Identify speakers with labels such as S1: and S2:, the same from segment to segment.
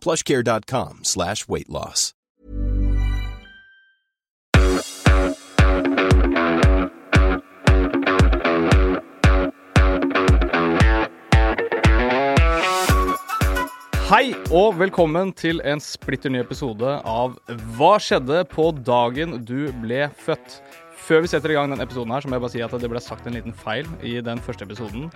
S1: Plushcare.com slash weight loss.
S2: Hei og velkommen til en splitter ny episode av Hva skjedde på dagen du ble født? Før vi setter i gang denne episoden, her, så må jeg bare si at det ble sagt en liten feil i den første episoden.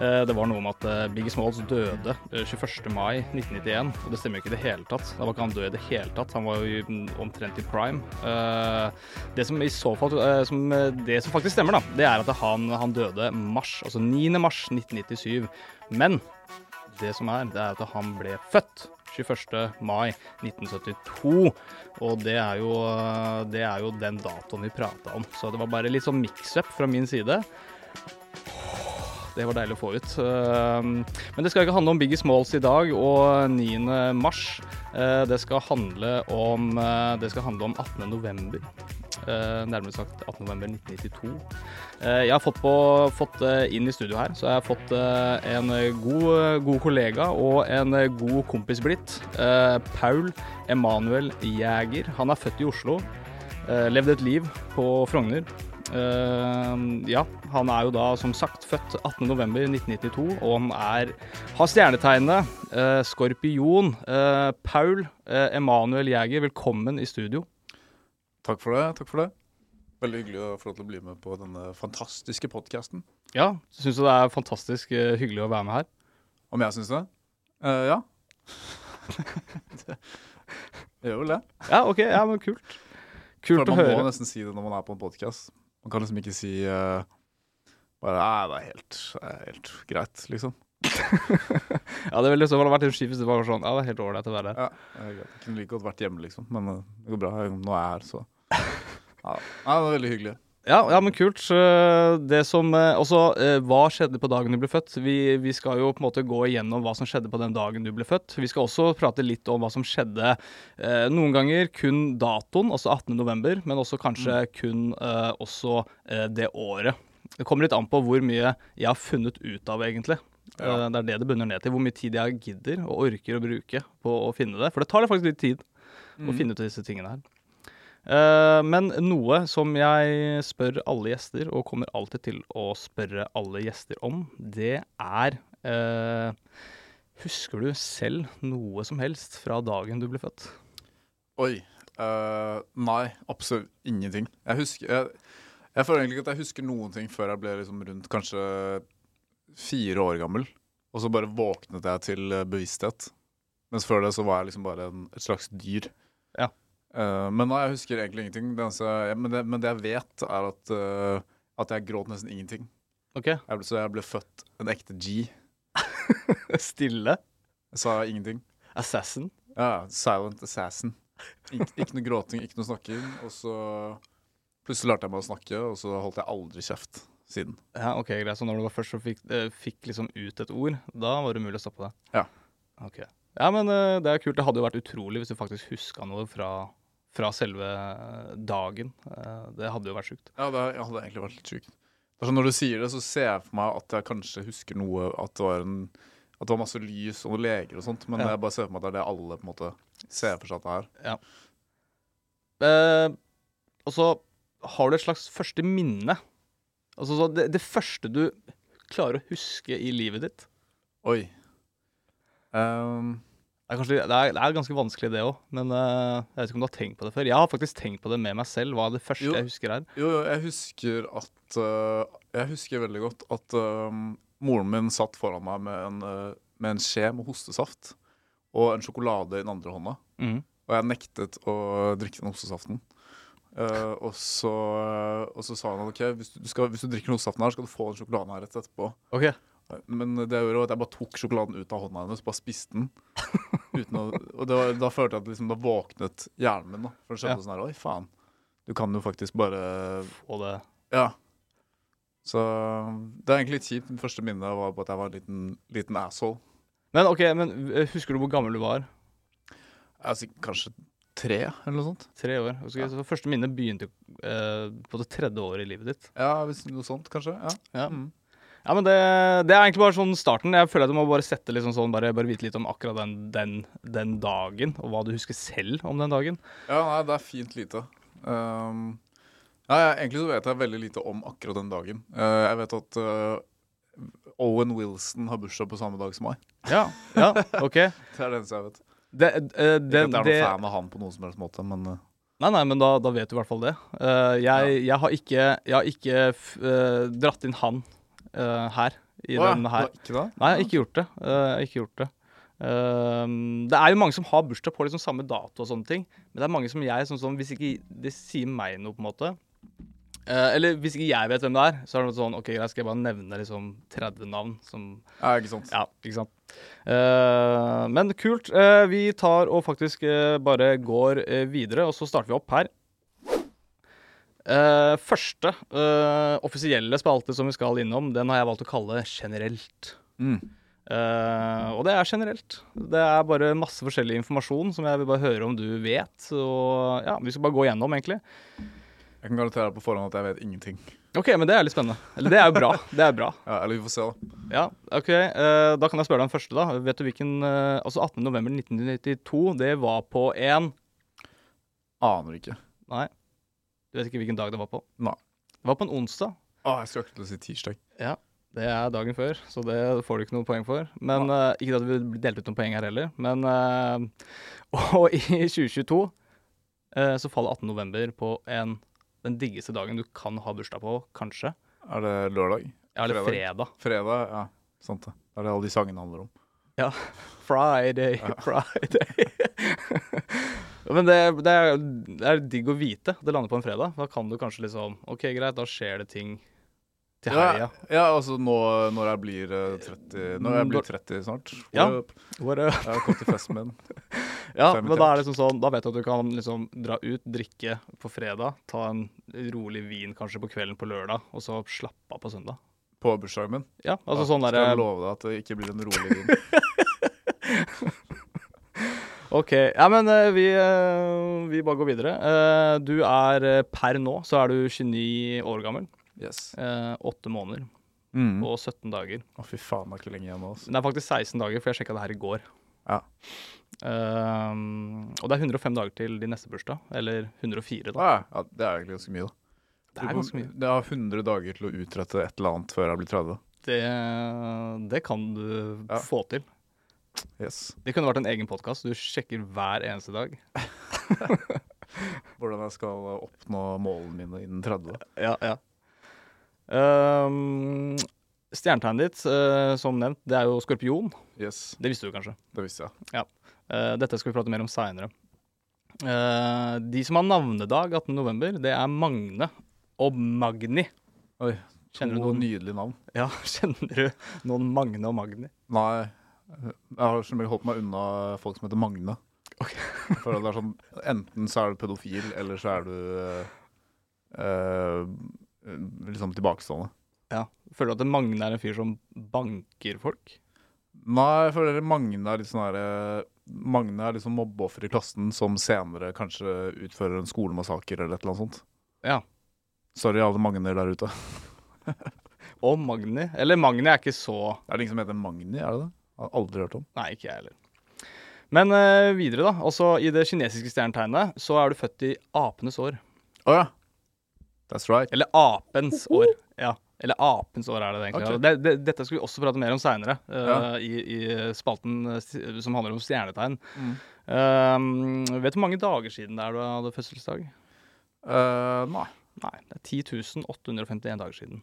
S2: Eh, Det var noe om at eh, Biggie Smalls døde eh, 21. mai 1991, og det stemmer jo ikke i det hele tatt. Da var ikke han død i det hele tatt, han var jo i- mm, omtrent i prime. Eh, Det som i så fall, eh, som, eh, det som faktisk stemmer, da, det er at han, han døde mars, altså 9. mars 1997. Men det som er, det er at han ble født 21. mai 1972. Og det er jo, det er jo den datoen vi prata om. Så det var bare litt sånn mix-up fra min side. Det var deilig å få ut. Eh, Men det skal ikke handle om Biggie Smalls i dag og 9. mars. Eh, Det skal handle om, eh, det skal handle om 18. november. Eh, Nærmere sagt 18. november 1992. Eh, Jeg har fått, på, fått eh, inn i studio her, så jeg har fått eh, en god, god kollega og en god kompis blitt. Eh, Paul Emanuel Jæger. Han er født i Oslo. Eh, levde et liv på Frogner. Eh, ja, han er jo da som sagt født 18.11.1992, og han er, har stjernetegnet eh, skorpion. Eh, Paul eh, Emanuel Jæger, velkommen i studio.
S3: Takk for det. takk for det. Veldig hyggelig å få lov til å bli med på denne fantastiske podkasten.
S2: Ja, Syns du det er fantastisk eh, hyggelig å være med her?
S3: Om jeg syns det? Eh, ja. Jeg gjør vel det.
S2: Ja, OK. ja, men Kult.
S3: For
S2: Kult å
S3: man må
S2: høre.
S3: nesten si det når man er på en podkast. Man kan liksom ikke si eh, bare Nei, det er helt, det er helt greit, liksom.
S2: Ja, Det ville i så fall vært litt skift hvis det var sånn. Ja, det er helt ålreit å være her.
S3: Ja, det er greit. Jeg kunne like godt vært hjemme, liksom. Men eh, det går bra. Jeg- Nå er jeg her, så ja. Nei, det var veldig hyggelig.
S2: Ja, ja, men kult. Eh, Det som eh, Også, eh, hva skjedde på dagen du ble født? Vi, vi skal jo på en måte gå igjennom hva som skjedde på den dagen du ble født. Vi skal også prate litt om hva som skjedde eh, noen ganger kun datoen, altså 18.11., men også kanskje kun eh, også eh, det året. Det kommer litt an på hvor mye jeg har funnet ut av, egentlig.
S3: Ja.
S2: Eh, Det er det det bunner ned til. Hvor mye tid jeg gidder og orker å bruke på å finne det. For det tar det faktisk litt tid å finne ut av disse tingene her. Eh, men noe som jeg spør alle gjester, og kommer alltid til å spørre alle gjester om, det er eh, Husker du selv noe som helst fra dagen du ble født?
S3: Oi. eh, nei, absolutt ingenting. Jeg husker jeg, jeg føler egentlig ikke at jeg husker noen ting før jeg ble liksom rundt kanskje fire år gammel. Og så bare våknet jeg til eh, bevissthet. Mens før det så var jeg liksom bare en, et slags dyr.
S2: Ja.
S3: Eh, men nei, jeg husker egentlig ingenting. Det eneste, jeg- men, det, men det jeg vet, er at, eh, at jeg gråt nesten ingenting.
S2: OK,
S3: Jeg ble, så jeg ble født en ekte G.
S2: stille.
S3: Jeg sa ingenting.
S2: Assassin.
S3: Ja, Silent Assassin. Ik ikke noe gråting, ikke noe snakking. Og så plutselig lærte jeg meg å snakke, og så holdt jeg aldri kjeft siden.
S2: Ja, ok, greit. Så når du var først og fikk, eh, fikk liksom ut et ord, da var det mulig å stoppe det?
S3: Ja.
S2: Ok. Ja, men eh, det er kult. Det hadde jo vært utrolig hvis du faktisk huska noe fra, fra selve dagen. Eh, det hadde jo vært sjukt.
S3: Ja, det hadde egentlig vært litt sjukt. Det er sånn, når du sier det, så ser jeg for meg at jeg kanskje husker noe At det var, en, at det var masse lys og noen leger og sånt, men
S2: Ja.
S3: jeg bare ser for meg at det er det alle på en måte ser for seg at det er.
S2: Eh, og så har du et slags første minne. Altså så det, det første du klarer å huske i livet ditt.
S3: Oi. Ehm,
S2: Det er, kanskje, det er, det er ganske vanskelig, det òg, men eh, jeg vet ikke om du har tenkt på det før. Jeg har faktisk tenkt på det med meg selv, hva det første
S3: Jo.
S2: jeg husker er.
S3: jo, jo, jeg husker at eh, Jeg husker veldig godt at eh, moren min satt foran meg med en, eh, med en skje med hostesaft og en sjokolade i den andre hånda.
S2: Mhm.
S3: Og jeg nektet å drikke den ostesaften. Eh, og, så, og så sa han at ok, hvis du, du skal, hvis du drikker den ostesaften her, skal du få den sjokoladen her rett etterpå.
S2: Ok.
S3: Men det jeg gjorde, var at jeg bare tok sjokoladen ut av hånda hennes, bare spiste den. Uten å, og det var, da følte jeg at liksom, da våknet hjernen min. Da, for det skjedde
S2: Ja.
S3: sånn her Oi, faen. Du kan jo faktisk bare
S2: Og det
S3: Ja. Så det er egentlig litt kjipt. Det første minnet var på at jeg var en liten, liten asshole.
S2: Men ok, men eh, husker du hvor gammel du var?
S3: Jeg er sikkert kanskje tre, eller noe sånt.
S2: Tre år. Husker,
S3: Ja.
S2: Så første minne begynte eh, på det tredje året i livet ditt.
S3: Ja, hvis noe sånt, kanskje. Ja.
S2: Ja.
S3: Mm.
S2: Ja, men det, det er egentlig bare sånn starten. Jeg føler at du må bare sette liksom sånn, bare, bare vite litt om akkurat den, den, den dagen, og hva du husker selv om den dagen.
S3: Ja, nei, det er fint lite. Ehm, nei, jeg- egentlig så vet jeg veldig lite om akkurat den dagen. Eh, jeg vet at eh, Owen Wilson har bursdag på samme dag som meg.
S2: Ja, ja, ok.
S3: Det er det eneste jeg vet.
S2: Det, eh, det,
S3: Ikke at jeg er noen
S2: det,
S3: fan av han på noen som helst måte, men eh,
S2: nei, nei, men da, da vet du i hvert fall det. Eh, jeg, jeg har ikke, jeg har ikke f- eh, dratt inn han eh, her, i
S3: Å, ja,
S2: den her.
S3: det var Ikke det?
S2: Nei, jeg har ikke gjort det. Eh, jeg har ikke gjort det. Ehm, det er jo mange som har bursdag på liksom samme dato og sånne ting. Men det er mange som jeg sånn som Hvis ikke det sier meg noe, på en måte eh, Eller hvis ikke jeg vet hvem det er, så er det sånn OK, greit, skal jeg bare nevne liksom 30 navn som
S3: Ja, ikke sant.
S2: Ja, ikke sant. Eh, men kult. Eh, vi tar og faktisk eh, bare går eh, videre, og så starter vi opp her. Eh, første eh, offisielle spalte som vi skal innom, den har jeg valgt å kalle generelt.
S3: Mm.
S2: Eh, og det er generelt. Det er bare masse forskjellig informasjon som jeg vil bare høre om du vet. Og ja, Vi skal bare gå gjennom, egentlig.
S3: Jeg kan garantere deg på forhånd at jeg vet ingenting.
S2: Ok, men det er litt spennende. Eller det er jo bra. Det er bra.
S3: Ja, eller vi får se, da.
S2: Ja, ok. eh, da kan jeg spørre deg om første, da. Vet du hvilken eh, Altså 18. november 1992, det var på en
S3: Aner ikke.
S2: Nei, du vet ikke hvilken dag det var på?
S3: Nei.
S2: Det var på en onsdag.
S3: Å, jeg skulle akkurat til å si tirsdag.
S2: Ja, det er dagen før, så det får du ikke noe poeng for. Men eh, Ikke at vi delte ut noen poeng her heller, men eh, Og i 2022 eh, så faller 18. november på en, den diggeste dagen du kan ha bursdag på, kanskje.
S3: Er det lørdag?
S2: Ja, eller
S3: Fredag.
S2: fredag.
S3: Fredag? Ja, sant det. Det er det alle de sangene handler om.
S2: Ja. Friday, Friday. Men det, det, er, det er digg å vite. Det lander på en fredag. Da kan du kanskje liksom OK, greit, da skjer det ting til helga.
S3: Ja, ja altså nå, når jeg blir eh, 30 Når jeg blir 30 snart.
S2: Ja.
S3: Whoop.
S2: What up?
S3: Jeg har kommet til festen min.
S2: Ja,
S3: Fem i
S2: men da er det liksom sånn, da vet du at du kan liksom dra ut, drikke på fredag, ta en rolig vin kanskje på kvelden på lørdag, og så slappe av på søndag.
S3: På bursdagen min.
S2: Ja, altså
S3: Ja,
S2: sånn
S3: Skal jeg
S2: derre
S3: love deg at det ikke blir en rolig vin.
S2: OK. Ja, men eh, vi, eh, vi bare går videre. Eh, Du er eh, per nå så er du 29 år gammel.
S3: Yes.
S2: eh, Åtte måneder
S3: Mm. Å,
S2: og 17 dager.
S3: fy faen, det er ikke lenge igjen nå. Altså.
S2: Det er faktisk 16 dager, for jeg sjekka det her i går.
S3: Ja.
S2: Ehm, og det er 105 dager til din neste bursdag. Eller 104, da.
S3: Ja, ja, det er egentlig ganske mye, da.
S2: Det er ganske mye.
S3: Jeg har 100 dager til å utrette et eller annet før jeg blir 30.
S2: Det, eh, det kan du
S3: Ja.
S2: få til.
S3: Yes.
S2: Det kunne vært en egen podkast. Du sjekker hver eneste dag.
S3: Hvordan jeg skal eh, oppnå målene mine innen 30.
S2: Ja, ja. Ehm, Stjernetegnet ditt, eh, som nevnt, det er jo skorpion.
S3: Yes,
S2: Det visste du kanskje.
S3: det visste jeg.
S2: Eh, dette skal vi prate mer om seinere. de som har navnedag 18.11, det er Magne og Magni.
S3: Oi,
S2: Kjenner du
S3: to
S2: noen,
S3: nydelige navn.
S2: ja, kjenner du noen Magne og Magni?
S3: Nei, jeg har som regel holdt meg unna folk som heter Magne.
S2: Ok.
S3: Jeg føler at det er sånn, Enten så er du pedofil, eller så er du eh, eh, liksom tilbakestående.
S2: Ja. Føler du at Magne er en fyr som banker folk?
S3: Nei, jeg føler Magne er litt sånn herre Magne er liksom mobbeoffer i klassen som senere kanskje utfører en skolemassaker eller et eller annet sånt.
S2: Ja.
S3: Sorry, alle Magner der ute.
S2: Og Magni. Eller Magni er ikke så
S3: Er det ingen som heter Magni? Er det det? Jeg har aldri hørt om.
S2: Nei, ikke jeg heller. Men eh, videre, da. Altså, I det kinesiske stjernetegnet så er du født i apenes år.
S3: Å ja. That's right.
S2: Eller apens år. Ja. Eller apens år er det det egentlig.
S3: Ok.
S2: Og Det, det, dette skal vi også prate mer om seinere,
S3: Ja.
S2: i, i spalten eh, s- som handler om stjernetegn.
S3: Mm.
S2: Eh, vet du hvor mange dager siden det er du hadde fødselsdag?
S3: Eh, nei.
S2: Nei, det er 10.851 dager siden.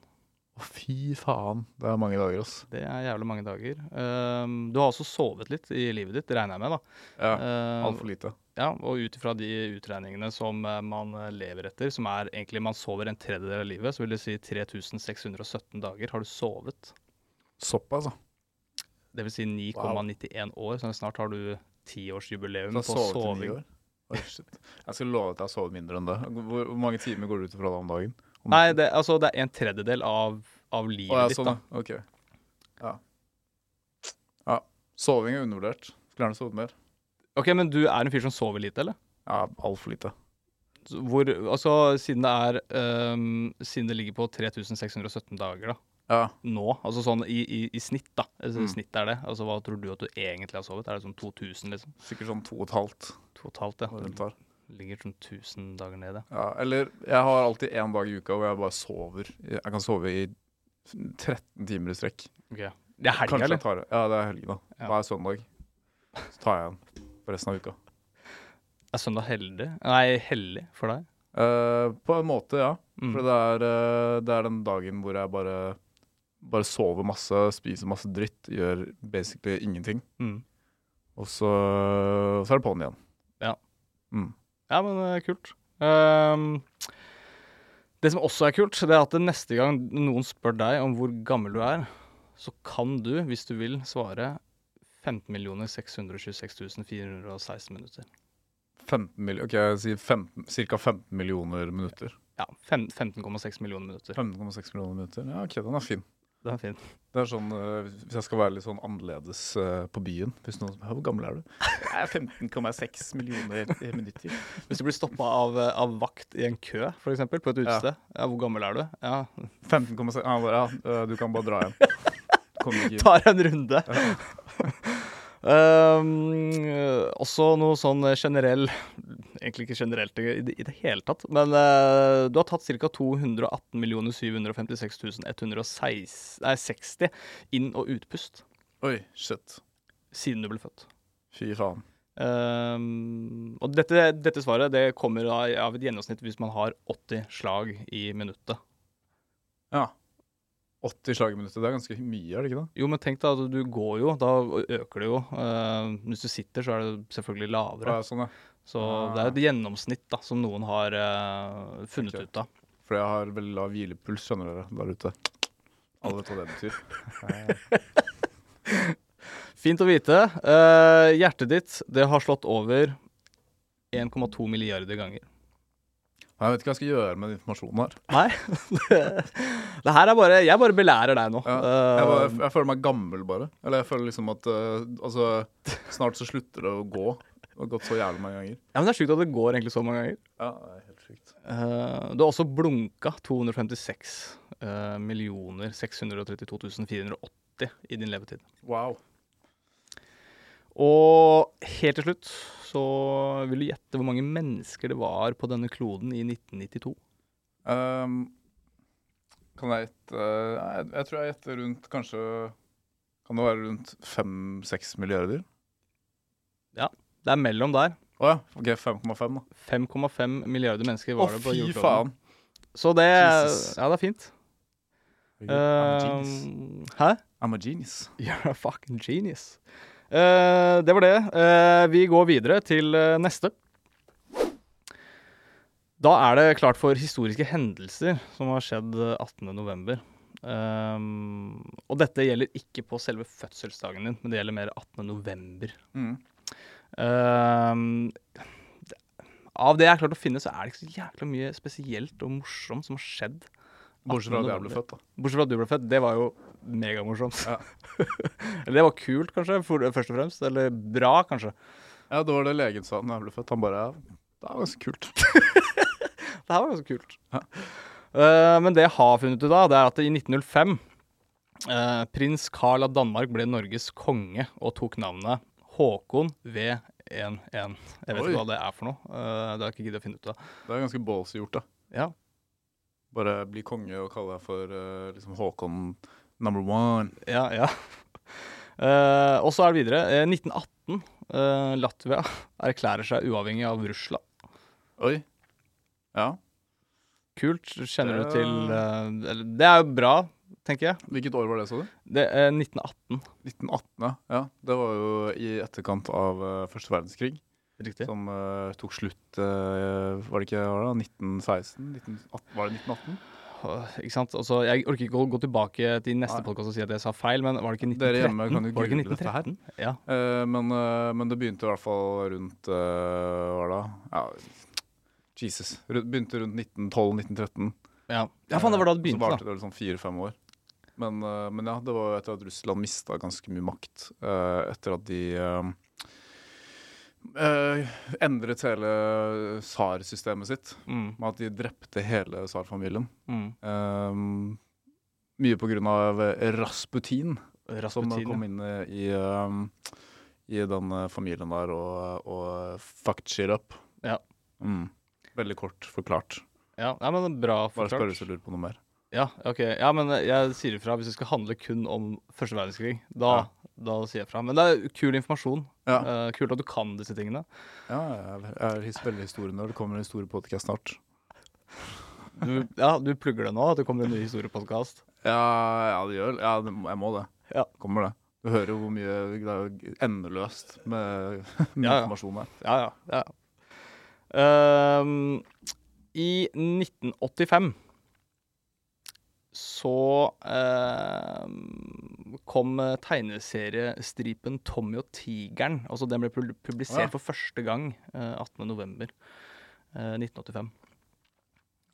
S3: Å, fy faen. Det er mange dager, ass.
S2: Det er jævlig mange dager. Eh, du har også sovet litt i livet ditt, regner jeg med. da.
S3: Ja,
S2: Uh,
S3: Altfor lite.
S2: Ja, og ut ifra de utregningene som eh, man eh, lever etter, som er egentlig man sover en tredjedel av livet, så vil det si 3617 dager har du sovet.
S3: Såpass, da.
S2: Det vil si 9,91 år, så snart har du tiårsjubileum
S3: Så
S2: på
S3: jeg sovet i ni
S2: soving.
S3: år. Mm. Oi, shit. Jeg skal love at jeg har sovet mindre enn det. Hvor, hvor mange timer går du ut ifra det om dagen? Om
S2: Nei, det, altså det er en tredjedel av, av livet
S3: Å, ja,
S2: ditt,
S3: sånn,
S2: da.
S3: ja. Ok. Ja. ja. Soving er undervurdert. Skulle gjerne sovet mer.
S2: Ok, Men du er en fyr som sover lite, eller?
S3: Ja, altfor lite.
S2: Så Hvor, altså, siden det er øhm, Siden det ligger på 3617 dager, da.
S3: Ja.
S2: Nå. Altså sånn i, i, i snitt, da. Altså,
S3: Mm.
S2: Snitt er det. Altså Hva tror du at du egentlig har sovet? Er det sånn 2000, liksom?
S3: Sikkert sånn to og et halvt.
S2: Totalt, ja.
S3: hva det
S2: Det
S3: tar.
S2: ligger sånn 1000 dager ned, ja.
S3: Ja, eller jeg har alltid én dag i uka hvor jeg bare sover. Jeg kan sove i 13 timer i strekk.
S2: Ok. Det er helga,
S3: Kanskje jeg
S2: eller?
S3: tar det. Ja, det er helgen, da.
S2: Ja.
S3: Hver søndag. Så tar jeg en på resten av uka.
S2: Er søndag heldig? Nei, hellig for deg?
S3: Eh, på en måte, ja.
S2: Mm.
S3: For det er, eh, det er den dagen hvor jeg bare, bare sover masse, spiser masse dritt, gjør basically ingenting.
S2: Mm.
S3: Og så, så er det på'n igjen.
S2: Ja.
S3: Mm.
S2: Ja, men det er kult. Ehm, det som også er kult, det er at neste gang noen spør deg om hvor gammel du er, så kan du, hvis du vil, svare 15 626 416 minutter.
S3: 15 mil, ok, jeg sier 15, Ca. 15 millioner minutter.
S2: Ja, fem- 15,6 millioner minutter.
S3: 15,6 millioner minutter. Ja, ok, den er fin.
S2: Det er fint.
S3: Det er sånn, eh, Hvis jeg skal være litt sånn annerledes eh, på byen Hvis noen spør, Hvor gammel er du? Jeg er 15,6 millioner minutter.
S2: Hvis du blir stoppa av, eh, av vakt i en kø, f.eks., på et
S3: Ja.
S2: utested, ja. hvor gammel er du? Ja,
S3: 15,6 Han bare, ja, eh, du kan bare dra hjem. Kom ikke inn.
S2: tar en runde. Um, eh, også noe sånn generell Egentlig ikke generelt i det, i det hele tatt, men eh, du har tatt ca. 218 756 160 nei, 60 inn- og utpust
S3: Oi, shit.
S2: siden du ble født.
S3: Fy faen.
S2: Um, og dette, dette svaret det kommer av, av et gjennomsnitt hvis man har 80 slag i minuttet.
S3: Ja. 80 slag i minuttet, det er ganske mye, er det ikke det?
S2: Jo, men tenk deg at du går jo, da øker det jo. Eh, hvis du sitter, så er det selvfølgelig lavere.
S3: Ja, sånn, ja.
S2: Så det er et gjennomsnitt da, som noen har eh, funnet
S3: Ok.
S2: ut av.
S3: Fordi jeg har veldig lav hvilepuls, skjønner dere, der ute. Alle vet hva det betyr.
S2: Fint å vite. Eh, hjertet ditt det har slått over 1,2 milliarder ganger.
S3: Jeg vet ikke hva jeg skal gjøre med den informasjonen her.
S2: Nei. det, det her er bare Jeg bare belærer deg nå. Eh,
S3: Ja, jeg, bare, jeg føler meg gammel, bare. Eller jeg føler liksom at eh, Altså, snart så slutter det å gå. Det har gått så jævlig mange ganger.
S2: Eh, ja, men det er sjukt at det går egentlig så mange ganger.
S3: Ja, det er helt sjukt.
S2: Eh, du har også blunka 256 eh, millioner 632 480 i din levetid.
S3: Wow.
S2: Og helt til slutt så vil du gjette hvor mange mennesker det var på denne kloden i 1992.
S3: Ehm, kan jeg gjette eh, jeg, jeg tror jeg gjetter rundt kanskje Kan det være rundt fem-seks milliarder?
S2: Det er mellom der.
S3: Å ja. OK, 5,5, da.
S2: 5,5 milliarder mennesker
S3: Å,
S2: var det på
S3: fy
S2: jordkloden.
S3: faen.
S2: Så det
S3: Jesus.
S2: Ja, det er fint.
S3: I'm a genius.
S2: Um, hæ?
S3: I'm a genius.
S2: You're a fucking genius. Eh, det var det. Eh, vi går videre til eh, neste. Da er det klart for historiske hendelser som har skjedd eh, 18. november. Um, og dette gjelder ikke på selve fødselsdagen din, men det gjelder mer 18. november.
S3: Mm.
S2: Ehm, det- av det jeg har klart å finne, så er det ikke så jækla mye spesielt og morsomt som har skjedd.
S3: Bortsett
S2: 18.
S3: fra at jeg ble
S2: november.
S3: født, da.
S2: Bortsett fra at du ble født. Det var jo megamorsomt.
S3: Ja.
S2: eller det var kult, kanskje, for, først og fremst. Eller bra, kanskje.
S3: Ja, det var det legen sa da jeg ble født. Han bare ja, Det er ganske kult.
S2: Det her var ganske kult.
S3: Ja.
S2: Eh, men det jeg har funnet ut av, det er at i 1905 eh, prins Carl av Danmark ble Norges konge og tok navnet Håkon V11. Jeg vet
S3: Oi.
S2: ikke hva det er for noe. Eh, det har jeg ikke giddet å finne ut av.
S3: Det er ganske ballsy gjort, da.
S2: Ja.
S3: Bare bli konge og kalle deg for eh, liksom Håkon number one.
S2: Ja, ja. Eh, og så er det videre. Eh, 1918. eh, Latvia erklærer seg uavhengig av Russland.
S3: Oi. Ja.
S2: Kult. Kjenner du
S3: Det-
S2: til eh, eller, Det er jo bra, tenker jeg.
S3: Hvilket år var det, sa du?
S2: Det eh, er 1918.
S3: 1918, ja. ja. Det var jo i etterkant av eh, første verdenskrig,
S2: Riktig.
S3: som eh, tok slutt eh, Var det ikke var det, da? 1916? 1918, var det 1918?
S2: Åh, Ikke sant? Altså, jeg orker ikke å gå tilbake til neste
S3: Nei.
S2: podkast og si at jeg sa feil, men var det ikke 1913?
S3: Dere hjemme kan jo
S2: Var det ikke
S3: google dette her.
S2: 1913? Ja.
S3: Eh, men, eh, men det begynte i hvert fall rundt eh, Hva da? Ja, Jesus. Ru- Begynte rundt 1912-1913.
S2: Ja. ja, faen, det var da det
S3: Eh, Så
S2: begynte,
S3: varte det vel sånn fire-fem år. Men, eh, men ja, det var jo etter at Russland mista ganske mye makt. eh, etter at de eh, eh, endret hele tsarsystemet sitt.
S2: da. Mm,
S3: Med at de drepte hele tsarfamilien.
S2: mm.
S3: Um, mye på grunn av Rasputin, som
S2: Rasputin,
S3: kom inn eh, i, um, i den eh, familien der og, og fucked shit up.
S2: Ja.
S3: Mm. Veldig kort forklart.
S2: Ja, Nei, men bra
S3: Bare spør
S2: forklart.
S3: hvis du lurer på noe mer.
S2: Ja, ok. ja, men eh, jeg sier ifra hvis det skal handle kun om første verdenskrig. Da, da sier jeg fra. Men det er kul informasjon.
S3: Ja,
S2: Eh, kult at du kan disse tingene.
S3: ja jeg er- jeg er his- veldig historienørd. Det kommer en historiepodkast snart.
S2: Du, ja, du plugger det nå, at det kommer en ny historiepodkast.
S3: Ja, ja, det gjør Ja, det, må- jeg må det.
S2: Ja.
S3: Kommer det. Du hører jo hvor mye det er jo endeløst med, med
S2: Ja, ja.
S3: informasjon her.
S2: Ja, ja. ja. Ehm, I 1985 så ehm, kom eh, tegneseriestripen Tommy og tigeren. Altså Den ble pul- publisert
S3: Å, ja.
S2: for første gang eh, 18. 18.11.1985.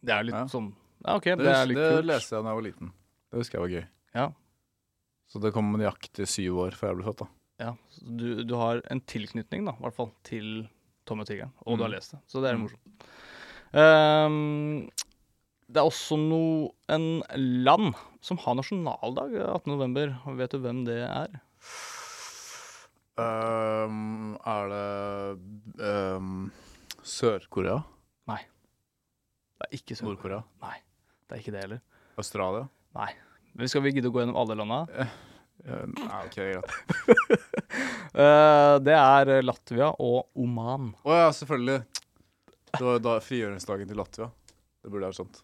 S2: Det er jo litt
S3: Ja.
S2: sånn Ja, OK, det,
S3: Det,
S2: er
S3: det,
S2: litt kult.
S3: leste jeg da jeg var liten. Det husker jeg var gøy.
S2: Ja.
S3: Så det kom nøyaktig syv år før jeg ble født. da.
S2: Ja, så du, du har en tilknytning da, i hvert fall, til Tommy og Tigeren, og du har
S3: Mm.
S2: lest det, så det er
S3: Mm.
S2: morsomt. Ehm, det er også no, en land som har nasjonaldag 18. november, og vet du hvem det er?
S3: Ehm, er det ehm, Sør-Korea?
S2: Det er ikke Sør-Korea.
S3: Nord-Korea?
S2: Det er ikke det heller.
S3: Australia?
S2: Men skal vi gidde å gå gjennom alle landa?
S3: Eh, Nei, ok, greit.
S2: Eh, det er Latvia og Oman.
S3: Å ja, selvfølgelig. Det var jo da frigjøringsdagen til Latvia. Det burde jeg ha skjønt.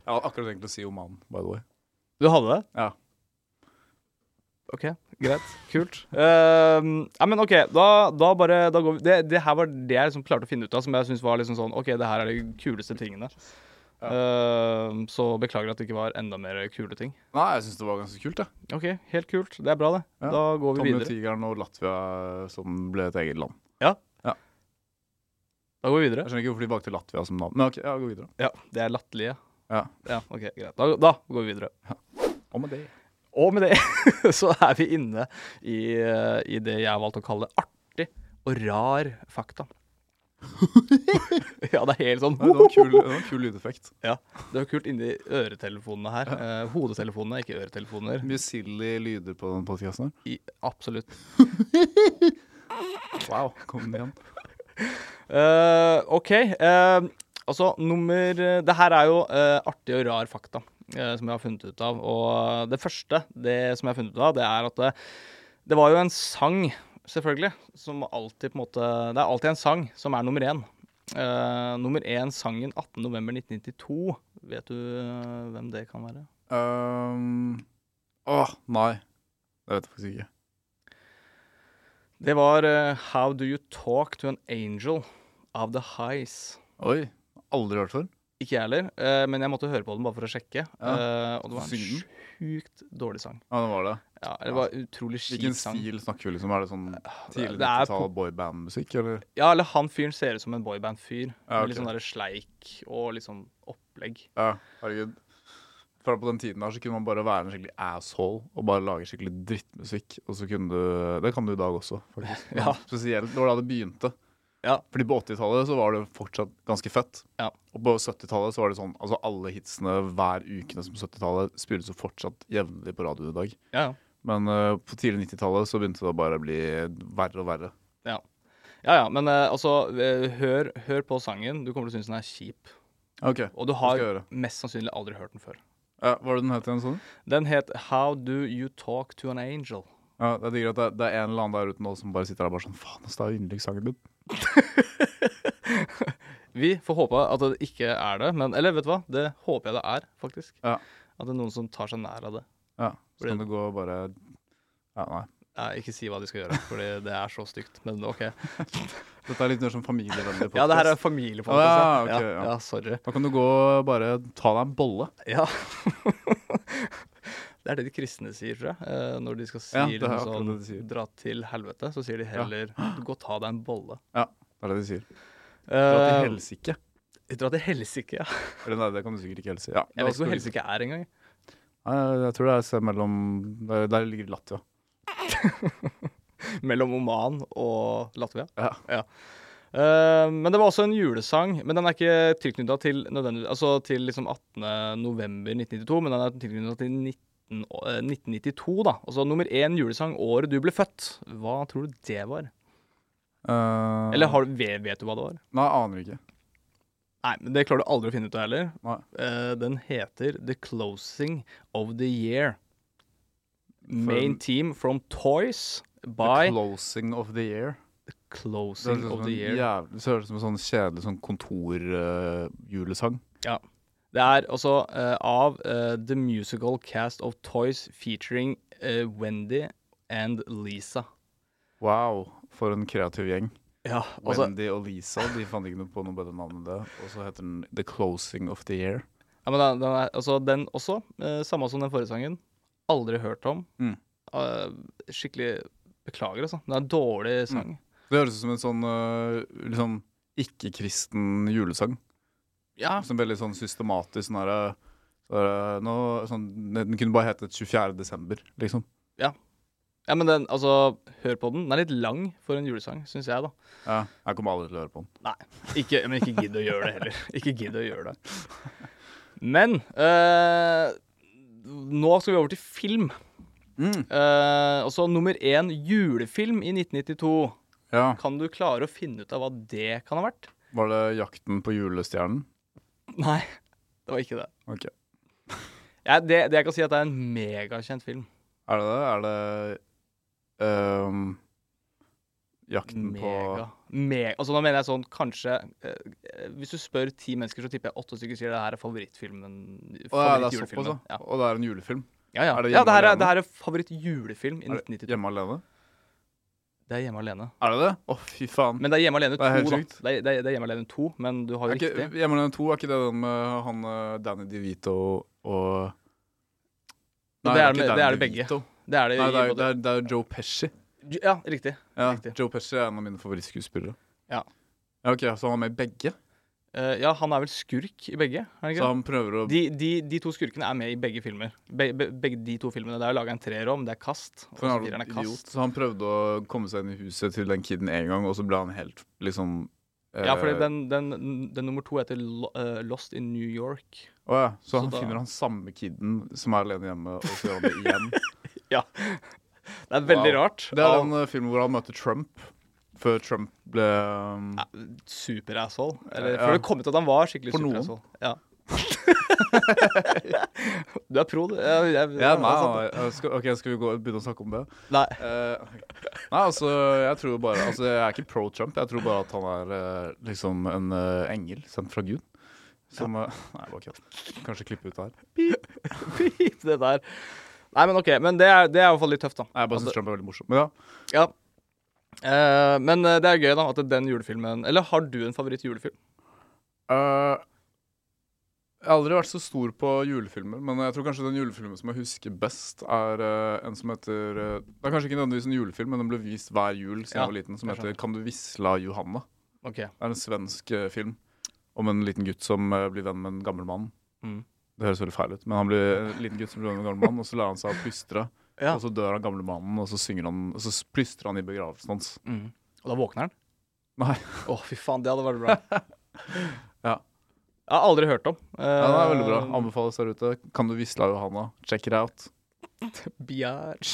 S3: Jeg hadde akkurat tenkt å si Oman, by the way.
S2: Du hadde det?
S3: Ja.
S2: OK, greit. Kult. Ehm, ja, men OK, da, da bare da går vi. Det, det her var det jeg liksom klarte å finne ut av, som jeg syns var liksom sånn OK, det her er de kuleste tingene. Ehm, så beklager at det ikke var enda mer kule ting.
S3: Nei, jeg syns det var ganske kult. jeg.
S2: OK, helt kult. Det er bra, det.
S3: Ja.
S2: Da går vi
S3: Tommy og
S2: videre.
S3: Tigeren og Latvia eh, som ble et eget land.
S2: Da går vi videre.
S3: Jeg skjønner ikke hvorfor de valgte Latvia som navn. Men ok, ja, gå videre.
S2: Ja, det er latterlige.
S3: Ja.
S2: ja. OK, greit. Da, da går vi videre.
S3: Og med det.
S2: Og med det så er vi inne i, eh, i det jeg har valgt å kalle artig og rar fakta. ja, det er helt sånn
S3: Nei, det var kul, det var en kul lydeffekt.
S2: Ja, Det er kult inni øretelefonene her. Eh, hodetelefonene, ikke øretelefoner.
S3: Mye silly lyder på den podkasten her.
S2: I, absolutt.
S3: Wow, kom den igjen.
S2: Eh, OK. eh, altså, nummer Det her er jo eh, artig og rar fakta eh, som jeg har funnet ut av. Og eh, det første det som jeg har funnet ut av, det er at det, det var jo en sang, selvfølgelig, som alltid på en måte Det er alltid en sang som er nummer én. Eh, nummer én sangen 18.11.1992. Vet du eh, hvem det kan være?
S3: Um, åh, nei. Det vet jeg faktisk ikke.
S2: Det var eh, How Do You Talk To An Angel Of The Highs.
S3: Oi, aldri hørt før.
S2: Ikke jeg heller, eh, men jeg måtte høre på den bare for å sjekke.
S3: Ja.
S2: Eh, og det var
S3: Syng
S2: en
S3: den.
S2: sjukt dårlig sang.
S3: Ja, det var det.
S2: Ja, det var en utrolig
S3: Hvilken
S2: skit sang.
S3: stil snakker vi liksom? Er det sånn tidlig
S2: det er
S3: 90-tall boyband-musikk, eller?
S2: Ja, eller han fyren ser ut som en boyband-fyr.
S3: Ja,
S2: Med litt
S3: ok.
S2: sånn der sleik og litt sånn opplegg.
S3: Ja, herregud. For på den tiden her så kunne man bare være en skikkelig asshole og bare lage skikkelig drittmusikk. Og så kunne du Det kan du i dag også, faktisk. Men
S2: Ja.
S3: Spesielt det var da det begynte.
S2: Ja.
S3: Fordi på 80-tallet så var det fortsatt ganske fett.
S2: Ja.
S3: Og på 70-tallet så var det sånn Altså alle hitsene hver uke som 70-tallet spilles jo fortsatt jevnlig på radioen i dag.
S2: Ja, ja.
S3: Men eh, på tidlig 90-tallet så begynte det bare å bli verre og verre.
S2: Ja, ja, ja men eh, altså, eh, hør, hør på sangen. Du kommer til å synes den er kjip.
S3: Ok,
S2: Og du
S3: skal jeg
S2: har
S3: gjøre.
S2: mest sannsynlig aldri hørt den før.
S3: ja, Hva var det den het igjen? Sånn?
S2: Den het How Do You Talk To An Angel.
S3: Ja, det er digg at det, det er en eller annen der ute nå som bare sitter der bare sånn Faen, ass, det er jo yndlingssangen min.
S2: Vi får håpe at det ikke er det, men Eller vet du hva? Det håper jeg det er, faktisk.
S3: Ja.
S2: At det er noen som tar seg nær av det.
S3: Ja, så
S2: Blir
S3: kan det gå og bare Ja, nei.
S2: Ja, ikke si hva de skal gjøre, Fordi det er så stygt. Men OK.
S3: Dette er litt mer sånn familievennlig
S2: Ja, det her er
S3: podcast.
S2: familiepodkast.
S3: Ah, ja, ok,
S2: ja.
S3: ja.
S2: ja, sorry.
S3: Da kan du gå og bare ta deg en bolle.
S2: Ja. det er det de kristne sier, tror jeg. eh, Når de skal si
S3: Ja, det er
S2: liksom
S3: akkurat
S2: sånn
S3: det de sier.
S2: 'dra til helvete', så sier de heller 'gå og ta deg en bolle'.
S3: Det er det de sier. Dra
S2: Eh,
S3: til helsike.
S2: dra til helsike, ja.
S3: Eller nei, det kan du sikkert ikke helse. Ja.
S2: Jeg vet ikke hvor helsike er engang.
S3: Nei, jeg tror det er et sted mellom Der, der ligger Latvia.
S2: Mellom Oman og Latvia.
S3: Ja.
S2: Eh, men det var også en julesang. Men den er ikke tilknytta til, nødvendig- altså til liksom 18.11.1992, men den er tilknytta til 19, å- eh, 1992, da. Altså nummer én julesang året du ble født. Hva tror du det var?
S3: Eh,
S2: Eller har, du- vet vet du hva det var?
S3: Nei, jeg aner ikke.
S2: Nei, men det klarer du aldri å finne ut av heller.
S3: Nei.
S2: Eh, den heter The Closing of the Year. Main team from Toys by
S3: The Closing of the Year. Det
S2: Closing
S3: høres ut
S2: of
S3: som
S2: the Year.
S3: en jævlig- det høres ut som en sånn kjedelig sånn eh, kontorjulesang.
S2: Det er også eh, av eh, The Musical Cast of Toys featuring eh, Wendy and Lisa.
S3: wow, for en kreativ gjeng.
S2: Ja, altså,
S3: Wendy og Lisa de fant ikke noe på noe bedre navn enn det. Og så heter den The Closing of the Year.
S2: ja, men den, den, er, altså, den også, eh, samme som den forrige sangen, aldri hørt om.
S3: Mm.
S2: Eh, skikkelig beklager, altså. Det er en dårlig
S3: Mm.
S2: sang.
S3: Det høres ut som en sånn øh, liksom ikke-kristen julesang.
S2: Ja,
S3: Som veldig sånn systematisk sånn herre sånn, Den kunne bare hett 24. desember, liksom.
S2: ja men den, altså, hør på den. Den er litt lang for en julesang, syns jeg, da.
S3: Ja, jeg kommer aldri til å høre på den.
S2: Ikke, men ikke gidd å gjøre det heller. Ikke gidd å gjøre det. Men eh, nå skal vi over til film.
S3: Mm.
S2: Eh, og så nummer én julefilm i 1992.
S3: Ja,
S2: Kan du klare å finne ut av hva det kan ha vært?
S3: Var det 'Jakten på julestjernen'?
S2: Nei, det var ikke det.
S3: Ok.
S2: Ja, det, det jeg kan si, er at det er en megakjent film.
S3: Er det det? Er det øhm, 'Jakten
S2: Mega. Me- altså, nå mener jeg sånn kanskje eh, Hvis du spør ti mennesker, så tipper jeg åtte stykker sier det her er favorittfilmen.
S3: på Å ja, det er såpass,
S2: favorittjulefilmen.
S3: da.
S2: ja.
S3: Og det er en julefilm?
S2: Ja, ja.
S3: Er det
S2: ja, det her er,
S3: hjemme
S2: det her er favorittjulefilm i
S3: Er det
S2: 1992.
S3: Hjemme alene?
S2: Det er Hjemme alene.
S3: Er det det? Å, fy faen.
S2: Men det er Hjemme alene
S3: Det er
S2: 2,
S3: helt
S2: da.
S3: sykt.
S2: Det er, det er- det er Hjemme alene 2, men du har
S3: Er
S2: jo
S3: ikke,
S2: riktig.
S3: Hjemme alene 2, er ikke det den med han eh, Danny DeVito og
S2: det er med-
S3: ikke
S2: det er
S3: Danny
S2: det begge.
S3: DeVito.
S2: Det er det,
S3: Nei, det er,
S2: i
S3: det,
S2: både
S3: er, det er Joe Pesci.
S2: Ja, riktig.
S3: Ja,
S2: Riktig.
S3: Joe Pesci er en av mine favorittskuespillere.
S2: Ja.
S3: ja. Ok, Så han er med i begge?
S2: Eh, ja, han er vel skurk i begge? Er han
S3: Så
S2: ikke? det?
S3: han prøver å
S2: De, de, de to skurkene er med i begge filmer. Be, be, begge de to filmene. Det er jo laga en treer om, det er Kast. Og
S3: for
S2: så
S3: han, er
S2: fireren er
S3: jo idiot,
S2: Kast.
S3: så han prøvde å komme seg inn i huset til den kiden en gang, og så ble han helt liksom eh,
S2: Ja, fordi den, den, den nummer to heter Lo- eh, Lost in New York.
S3: å ja, så,
S2: så
S3: han
S2: da-
S3: finner han samme kiden som er alene hjemme, og så gjør han det igjen.
S2: Det er veldig
S3: Wow.
S2: rart.
S3: Det er
S2: Av-
S3: den eh, filmen hvor han møter Trump, før Trump ble um,
S2: ja, Superasshole. Eller
S3: Ja.
S2: før det kom ut at han var skikkelig
S3: For noen.
S2: superasshole. Ja. du er pro, du. Ja, altså, jeg,
S3: Ja,
S2: det er
S3: nei,
S2: sant,
S3: nei, eh, skal, ok, skal vi gå, begynne å snakke om det?
S2: det. nei.
S3: Eh, nei, altså, jeg tror bare Altså, jeg er ikke pro Trump. Jeg tror bare at han er eh, liksom en eh, engel sendt fra Gud. Som eh, Nei, bare kødd. Kanskje klippe ut det her. Nei,
S2: Pip, det der. Nei, men OK. Men det er, det er i hvert fall litt tøft, da.
S3: jeg bare
S2: Altså-
S3: syns Trump er veldig morsom. Men ja,
S2: Ja. Eh, men eh, det er gøy da at den julefilmen Eller har du en favoritt-julefilm?
S3: eh, Jeg har aldri vært så stor på julefilmer, men jeg tror kanskje den julefilmen som jeg husker best, er eh, en som heter eh, Det er kanskje ikke nødvendigvis en julefilm, men den ble vist hver jul siden
S2: Ja,
S3: jeg var liten, som
S2: jeg
S3: heter 'Kan du visla Johanna'.
S2: Ok
S3: Det er en svensk eh, film om en liten gutt som eh, blir venn med en gammel mann.
S2: Mm.
S3: Det høres veldig feil ut, men han blir en liten gutt som blir venn med en gammel mann, og så lærer han seg å plystre.
S2: Ja.
S3: Og så dør han gamle mannen, og så, synger han, og så s- plystrer han i begravelsen hans.
S2: Og da våkner han?
S3: Mm. Nei.
S2: Å, fy faen, det hadde vært bra.
S3: Ja.
S2: Jeg har aldri hørt om. Uh,
S3: Ja, det er veldig bra. Anbefales der ute. Kan du visle av Johanna? Check it out.
S2: Bjæsj.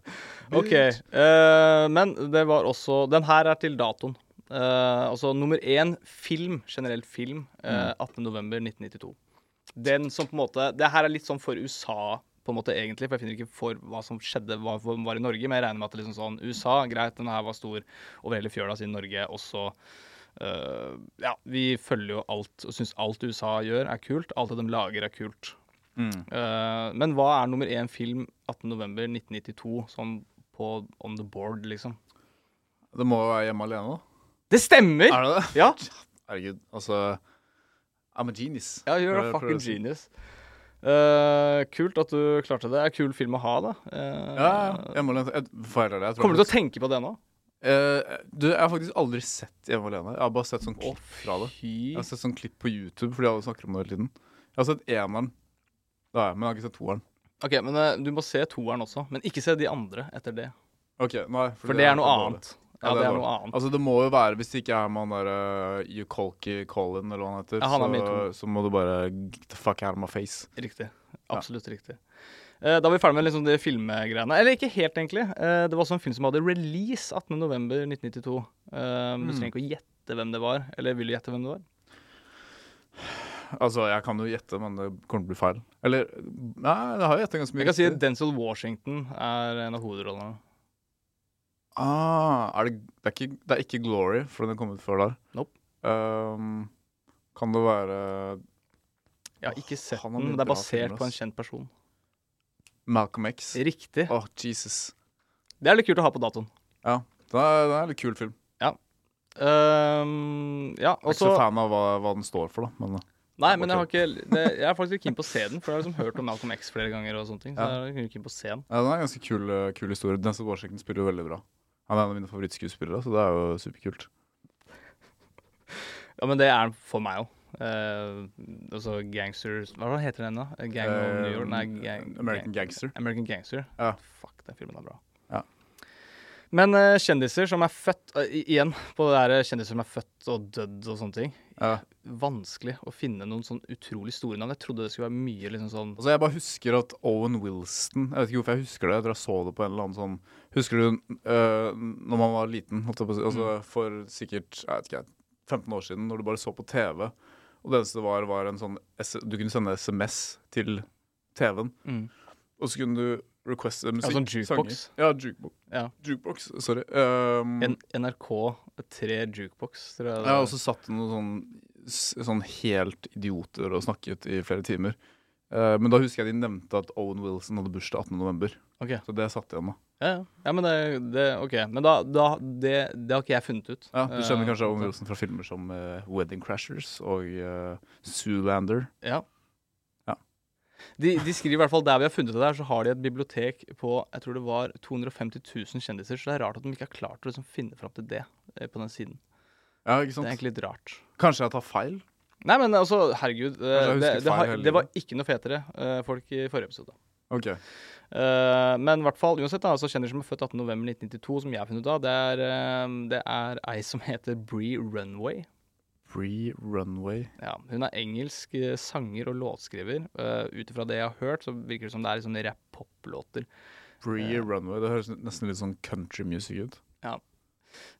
S2: OK. eh, men det var også Den her er til datoen. Eh, altså nummer én film, generelt film, uh, 18.11.1992. Den som på en måte Det her er litt sånn for USA, på en måte egentlig, for jeg finner ikke for hva som skjedde, hva som var i Norge, men jeg regner med at det liksom sånn USA, greit, den her var stor over hele fjøla siden Norge også eh, Ja, vi følger jo alt og syns alt USA gjør, er kult. Alt det de lager, er kult. Eh, men hva er nummer én film 18.11.1992 sånn på on the board, liksom.
S3: Det må jo være hjemme alene, da.
S2: Det stemmer!
S3: Er det det?
S2: Ja.
S3: Herregud, altså I'm a genius.
S2: Ja,
S3: Prøver-
S2: you're a
S3: prøver å
S2: fucking
S3: si.
S2: genius. Eh, kult at du klarte det. Er kul film å ha, da. Eh,
S3: Ja, ja, hjemme alene. Jeg, for ærlig, jeg tror
S2: Kommer du til å tenke på det nå?
S3: Eh, du, jeg har faktisk aldri sett Hjemme alene. Jeg har bare sett sånn klipp fra det.
S2: Fy
S3: Jeg har sett sånn klipp på YouTube, fordi alle snakker om det hele tiden. Jeg har sett eneren, det har jeg, men jeg har ikke sett toeren.
S2: Ok, men eh, Du må se toeren også, men ikke se de andre etter det.
S3: Ok, nei
S2: For det er noe
S3: dårlig.
S2: annet. Ja, det er noe
S3: dårlig.
S2: annet.
S3: Altså Det må jo være, hvis det ikke er med han der uh, Yukolki Colin, eller hva han heter,
S2: Ja, han er med i
S3: så, så må du bare get the fuck out of my face.
S2: Riktig. Absolutt riktig. Eh, Da er vi ferdig med liksom de filmgreiene. Eller ikke helt, egentlig. Eh, Det var også en film som hadde release 18.11.1992. Eh, men Du trenger ikke å gjette hvem det var. Eller vil du gjette hvem det var?
S3: Altså, jeg kan jo gjette, men det kommer til å bli feil. Eller Nei, jeg har jo gjetta ganske mye.
S2: Jeg kan si
S3: riktig.
S2: Denzil Washington er en av hovedrollene.
S3: ah, er det, det, er ikke, det er ikke Glory, for den kom ut før der.
S2: Nope.
S3: Um, kan det være
S2: Jeg har ikke sett
S3: han
S2: den,
S3: har mye
S2: men det er
S3: bra
S2: basert
S3: filmer,
S2: på en
S3: ass.
S2: kjent person.
S3: Malcolm X?
S2: Riktig.
S3: Åh, Jesus.
S2: Det er litt kult å ha på datoen.
S3: Ja, det er, det er en litt kul film.
S2: Ehm, ja,
S3: Jeg er
S2: og
S3: ikke
S2: så
S3: så fan av hva, hva den står for, da. Men, eh,
S2: Nei, men jeg, har ikke, det, jeg er faktisk litt keen på å se den, for jeg har liksom hørt om Malcolm X flere ganger. og sånne ting, så
S3: Ja.
S2: jeg er litt keen på å se den.
S3: ja, den er en ganske kul, eh, kul historie. Denzel Washington spiller jo veldig bra. Han er en av mine favorittskuespillere, så det er jo superkult.
S2: Ja, Men det er den for meg òg. altså Gangsters Hva var det heter den, da? Eh, Gang of New York? Nei, gang,
S3: Um, Eh, American
S2: gang,
S3: Gangster.
S2: American Gangster.
S3: Ja.
S2: Fuck, den filmen er bra.
S3: Ja.
S2: Men eh, kjendiser som er født eh, i- Igjen på det der eh, kjendiser som er født og dødd og sånne ting.
S3: Ja.
S2: Vanskelig å finne noen sånn utrolig store navn. Jeg trodde det skulle være mye liksom sånn
S3: Altså, jeg bare husker at Owen Wilson Jeg vet ikke hvorfor jeg husker det. Jeg tror jeg så det på en eller annen sånn Husker du uh, når man var liten, holdt jeg på å si, altså,
S2: Mm.
S3: for sikkert jeg vet ikke, 15 år siden, når du bare så på TV, og det eneste det var, var en sånn S Du kunne sende SMS til TV-en,
S2: Mm.
S3: og så kunne du requeste musikk.
S2: sånn jukebox.
S3: sanger. Ja, jukebox.
S2: Ja.
S3: jukebox. Sorry. Um,
S2: N NRK 3 Jukebox, tror jeg. det
S3: Jeg har
S2: var.
S3: også satt noen sånn, s- sånn helt idioter og snakket i flere timer. Eh, men da husker jeg de nevnte at Owen Wilson hadde bursdag 18.11.
S2: Ok.
S3: Så det satt igjen, da.
S2: Ja, ja. ja, men det, det OK. Men da, da det, det har ikke jeg funnet ut.
S3: Ja, du kjenner
S2: Eh,
S3: kanskje Owen Wilson fra filmer som eh, Wedding Crashers og eh, Zoolander.
S2: Ja.
S3: Ja.
S2: De, de skriver i hvert fall der vi har funnet det der, så har de et bibliotek på jeg tror det var 250 000 kjendiser. Så det er rart at de ikke har klart å liksom finne fram til det eh, på den siden.
S3: Ja, ikke
S2: Det er
S3: sant?
S2: egentlig litt rart.
S3: Kanskje jeg tar feil?
S2: Nei, men altså, herregud. eh,
S3: jeg husker
S2: Det, det,
S3: feil
S2: har,
S3: hele
S2: det var ikke noe fetere eh, folk i forrige episode.
S3: Ok.
S2: Eh, men i hvert fall, uansett, da, altså, kjenner som er født 18.11.1992, som jeg har funnet ut av, det er, eh, det er ei som heter Bree Runway.
S3: Free Runway.
S2: Ja, Hun er engelsk eh, sanger og låtskriver. Uh, Ut ifra det jeg har hørt, så virker det som det er litt sånn rapp-pop-låter.
S3: Free Runway. Det høres nesten litt sånn country music ut.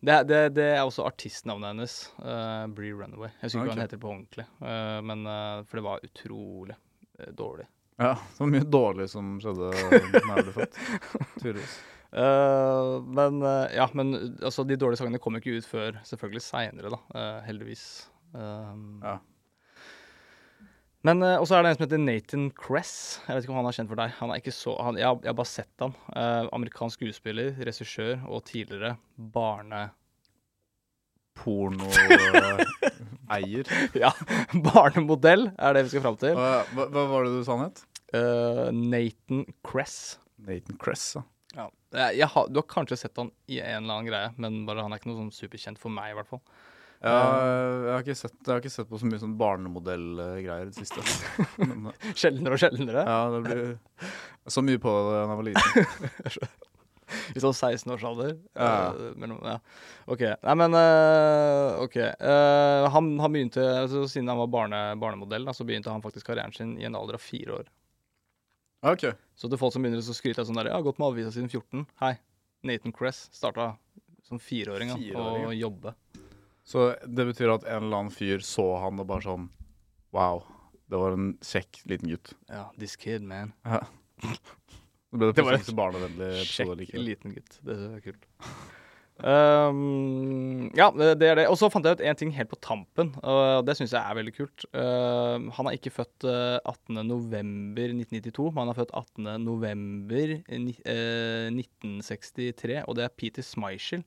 S2: Det, er- det, det er også artistnavnet hennes. eh, Bree Runaway. Jeg husker ikke
S3: Ok.
S2: hva hun heter på ordentlig, eh, men, eh, for det var utrolig eh, dårlig.
S3: Ja, det var mye dårlig som skjedde da jeg ble født. Tydeligvis.
S2: Eh, men eh, ja, men eh, altså, de dårlige sangene kom jo ikke ut før selvfølgelig seinere, da. eh, heldigvis. Um,
S3: Ja.
S2: Men eh, også er det en som heter Nathan Cress. Jeg vet ikke om han er kjent for deg. Han er ikke så, han, jeg, har- jeg har bare sett han. Eh, amerikansk skuespiller, regissør og tidligere barne...
S3: Pornoeier.
S2: Ja, barnemodell er det vi skal fram til.
S3: Hva, hva hva var det du sa han het?
S2: Eh, Nathan Cress.
S3: Nathan Cress, ja.
S2: Eh, Jeg har, du har kanskje sett han i en eller annen greie, men bare han er ikke noe sånn superkjent for meg, i hvert fall.
S3: Ja, jeg, har ikke sett, jeg har ikke sett på så mye sånn barnemodellgreier i det siste. Men, eh,
S2: Sjeldnere og sjeldnere.
S3: ja, det blir jeg så mye på det da jeg var liten.
S2: I sånn 16-årsalder?
S3: Ja.
S2: Eh, mellom- ja. OK. Nei, men eh, OK. Eh, han, han begynte, altså, Siden han var barne, barnemodell, da, så begynte han faktisk karrieren sin i en alder av fire år.
S3: Ok,
S2: Så til folk som begynner å skryte av sånn der, jeg har gått med avisa siden 14. Hei, Nathan Cress starta som fireåring han,
S3: Fireåring,
S2: å jobbe.
S3: Så det betyr at en eller annen fyr så han og bare sånn Wow, det var en kjekk liten gutt.
S2: Ja, this kid, man.
S3: Ja. Så ble det
S2: Det var
S3: plutselig så barnevennlig episode
S2: Sjekk
S3: likevel.
S2: liten gutt. Det er kult. Um, ja, det det er det. Og så fant jeg ut en ting helt på tampen, og det syns jeg er veldig kult. Um, han er ikke født uh, 18.11.1992, men han er født 18.11.1963, eh, og det er Peter Schmeichel.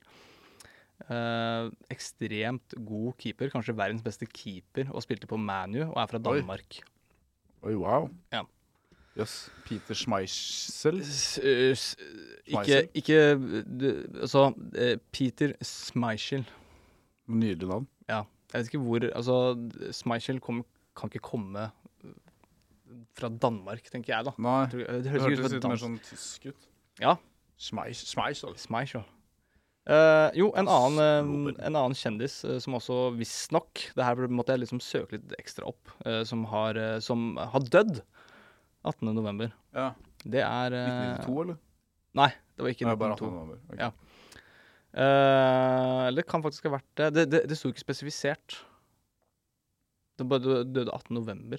S2: Uh, ekstremt god keeper, kanskje verdens beste keeper, og spilte på ManU og er fra
S3: Oi.
S2: Danmark.
S3: Oi, wow.
S2: Ja.
S3: Jøss. Peter Schmeichel.
S2: S- eh, s- Ikke,
S3: Schmeichel?
S2: ikke du- Altså, eh, Peter Schmeichel.
S3: Nydelig navn.
S2: Ja. Jeg vet ikke hvor Altså, Schmeichel kom, kan ikke komme eh, fra Danmark, tenker jeg, da.
S3: Nei,
S2: Jeg tror- Det
S3: det
S2: høres ikke ut
S3: hørtes
S2: som et
S3: litt mer
S2: dansk
S3: sånn tysk ut.
S2: Ja,
S3: Schmeich- Schmeichel.
S2: Schmeichel. Eh, jo, en annen,
S3: Robert.
S2: eh, en annen kjendis eh, som også visstnok Det her måtte jeg liksom søke litt ekstra opp. eh, som har, eh, som har dødd 18.11.
S3: Ja.
S2: Det er eh,
S3: 1992, eller?
S2: Nei, det var ikke
S3: Nei, bare 18
S2: 1992.
S3: november. Ok.
S2: Ja. Eh, eller det kan faktisk ha vært det. Det, det, det sto ikke spesifisert. Det bare dø- døde 18. november.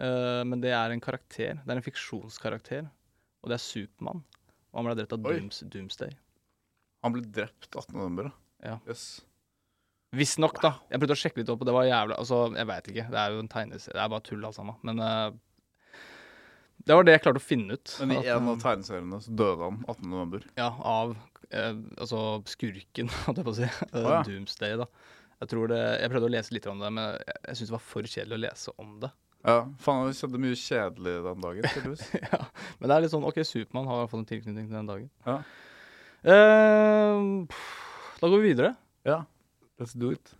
S2: Eh, men det er en karakter. Det er en fiksjonskarakter. Og det er Supermann. Og han ble drept av
S3: Oi.
S2: Dooms, Doomsday.
S3: Han ble drept 18. november, da.
S2: Ja.
S3: Yes.
S2: Visstnok, da. Jeg prøvde å sjekke litt opp, og det var jævla Altså, jeg veit ikke. Det er jo en tegneserie. Det er bare tull, alt sammen. Men eh, det var det jeg klarte å finne ut.
S3: Men i
S2: At,
S3: en
S2: eh,
S3: av tegneseriene så døde han 18. november.
S2: Ja, av eh, altså skurken, holdt jeg på å si. Eh,
S3: ja.
S2: Doomsday, da. Jeg, tror det, jeg prøvde å lese litt om det, men jeg, jeg syntes det var for kjedelig å lese om det.
S3: Ja, faen, det skjedde mye kjedelig den dagen, tydeligvis.
S2: ja. Men det er litt sånn OK, Supermann har i hvert fall en tilknytning til den dagen.
S3: Ja.
S2: Eh, pff, da går vi videre.
S3: ja. Let's do it.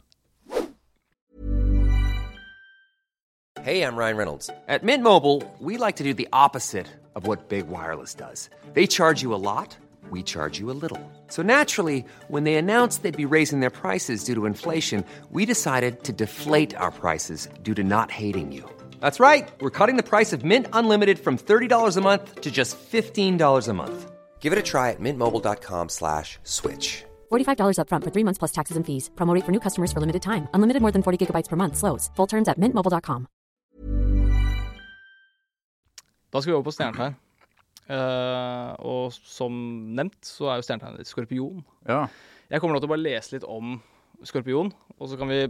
S4: Hey, I'm Ryan Reynolds. At Mint Mobile, we like to do the opposite of what Big Wireless does. They charge you a lot, we charge you a little. So naturally, when they announced they'd be raising their prices due to inflation, we decided to deflate our prices due to not hating you. That's right. We're cutting the price of Mint Unlimited from $30 a month to just $15 a month. Give it a try at mintmobile.com slash switch.
S5: $45 upfront for three months plus taxes and fees. Promo rate for new customers for limited time. Unlimited more than 40 gigabytes per month. Slows. Full terms at mintmobile.com.
S2: Da skal vi over på stjernetegn. Eh, og som nevnt så er jo stjernetegnet ditt skorpion.
S3: Ja.
S2: Jeg kommer nå til å bare lese litt om skorpion, og så kan vi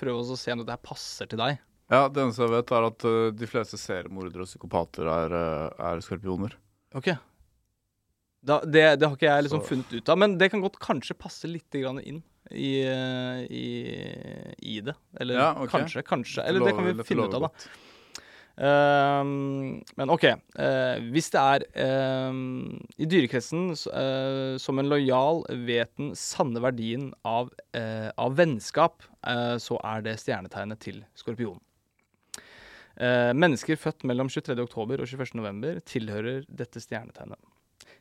S2: prøve oss å se om dette her passer til deg.
S3: ja, det eneste jeg vet, er at eh, de fleste seriemordere og psykopater er, eh, er skorpioner.
S2: Ok. Da, det, det har ikke jeg liksom
S3: Så-
S2: funnet ut av, men det kan godt kanskje passe litt grann inn i, eh, i, i det. Eller
S3: Ja, ok.
S2: kanskje, kanskje. Eller det kan
S3: Lover-
S2: vi finne ut av,
S3: lover
S2: da. Ehm, men OK. eh, hvis det er ehm, i dyrekretsen s- eh, som en lojal vet den sanne verdien av, eh, av vennskap, eh, så er det stjernetegnet til skorpionen. Eh, mennesker født mellom 23. oktober og 21. november tilhører dette stjernetegnet.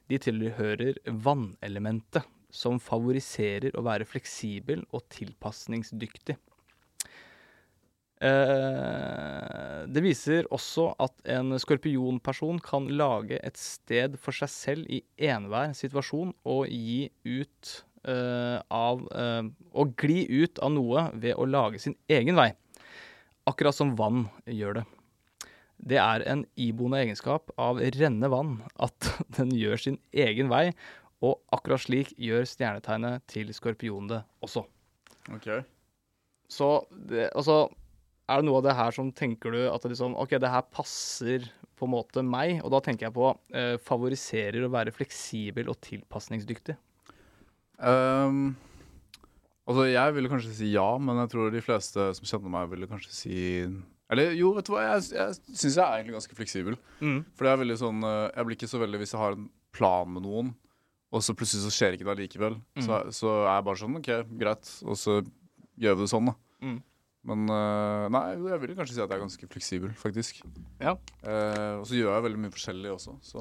S2: De tilhører vannelementet, som favoriserer å være fleksibel og tilpasningsdyktig. Eh, det viser også at en skorpionperson kan lage et sted for seg selv i enhver situasjon og gi ut eh, av eh, Og gli ut av noe ved å lage sin egen vei. Akkurat som vann gjør det. Det er en iboende egenskap av rennende vann at den gjør sin egen vei, og akkurat slik gjør stjernetegnet til skorpionen det også.
S3: Ok.
S2: Så det, altså Er det noe av det her som tenker du at det liksom OK, det her passer på en måte meg, og da tenker jeg på eh, favoriserer å være fleksibel og tilpasningsdyktig.
S3: Ehm, altså, jeg ville kanskje si ja, men jeg tror de fleste som kjenner meg, ville kanskje si Eller jo, vet du hva, jeg, jeg syns jeg er egentlig ganske fleksibel.
S2: Mm.
S3: For det er veldig sånn eh, Jeg blir ikke så veldig hvis jeg har en plan med noen, og så plutselig så skjer ikke det allikevel.
S2: Mm.
S3: Så, så er jeg bare sånn OK, greit, og så gjør vi det sånn, da.
S2: Mm.
S3: Men eh, nei, jeg ville kanskje si at jeg er ganske fleksibel, faktisk.
S2: Ja.
S3: Eh, og så gjør jeg veldig mye forskjellig også, så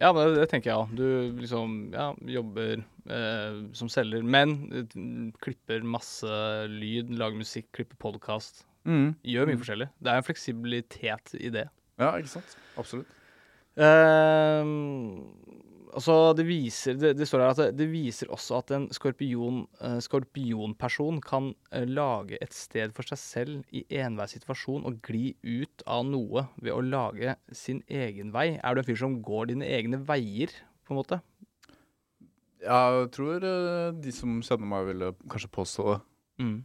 S2: Ja, men det, det tenker jeg òg. Du liksom ja, jobber eh, som selger, men eh, klipper masse lyd, lager musikk, klipper podkast. Gjør mye forskjellig. Det er en fleksibilitet i det.
S3: Ja, ikke sant? Absolutt.
S2: Ehm, altså, det viser det, det står her at det, det viser også at en skorpion, eh, skorpionperson kan eh, lage et sted for seg selv i enhver situasjon og gli ut av noe ved å lage sin egen vei. Er du en fyr som går dine egne veier, på en måte?
S3: Jeg tror eh, de som kjenner meg, ville kanskje påstå det.
S2: Mm.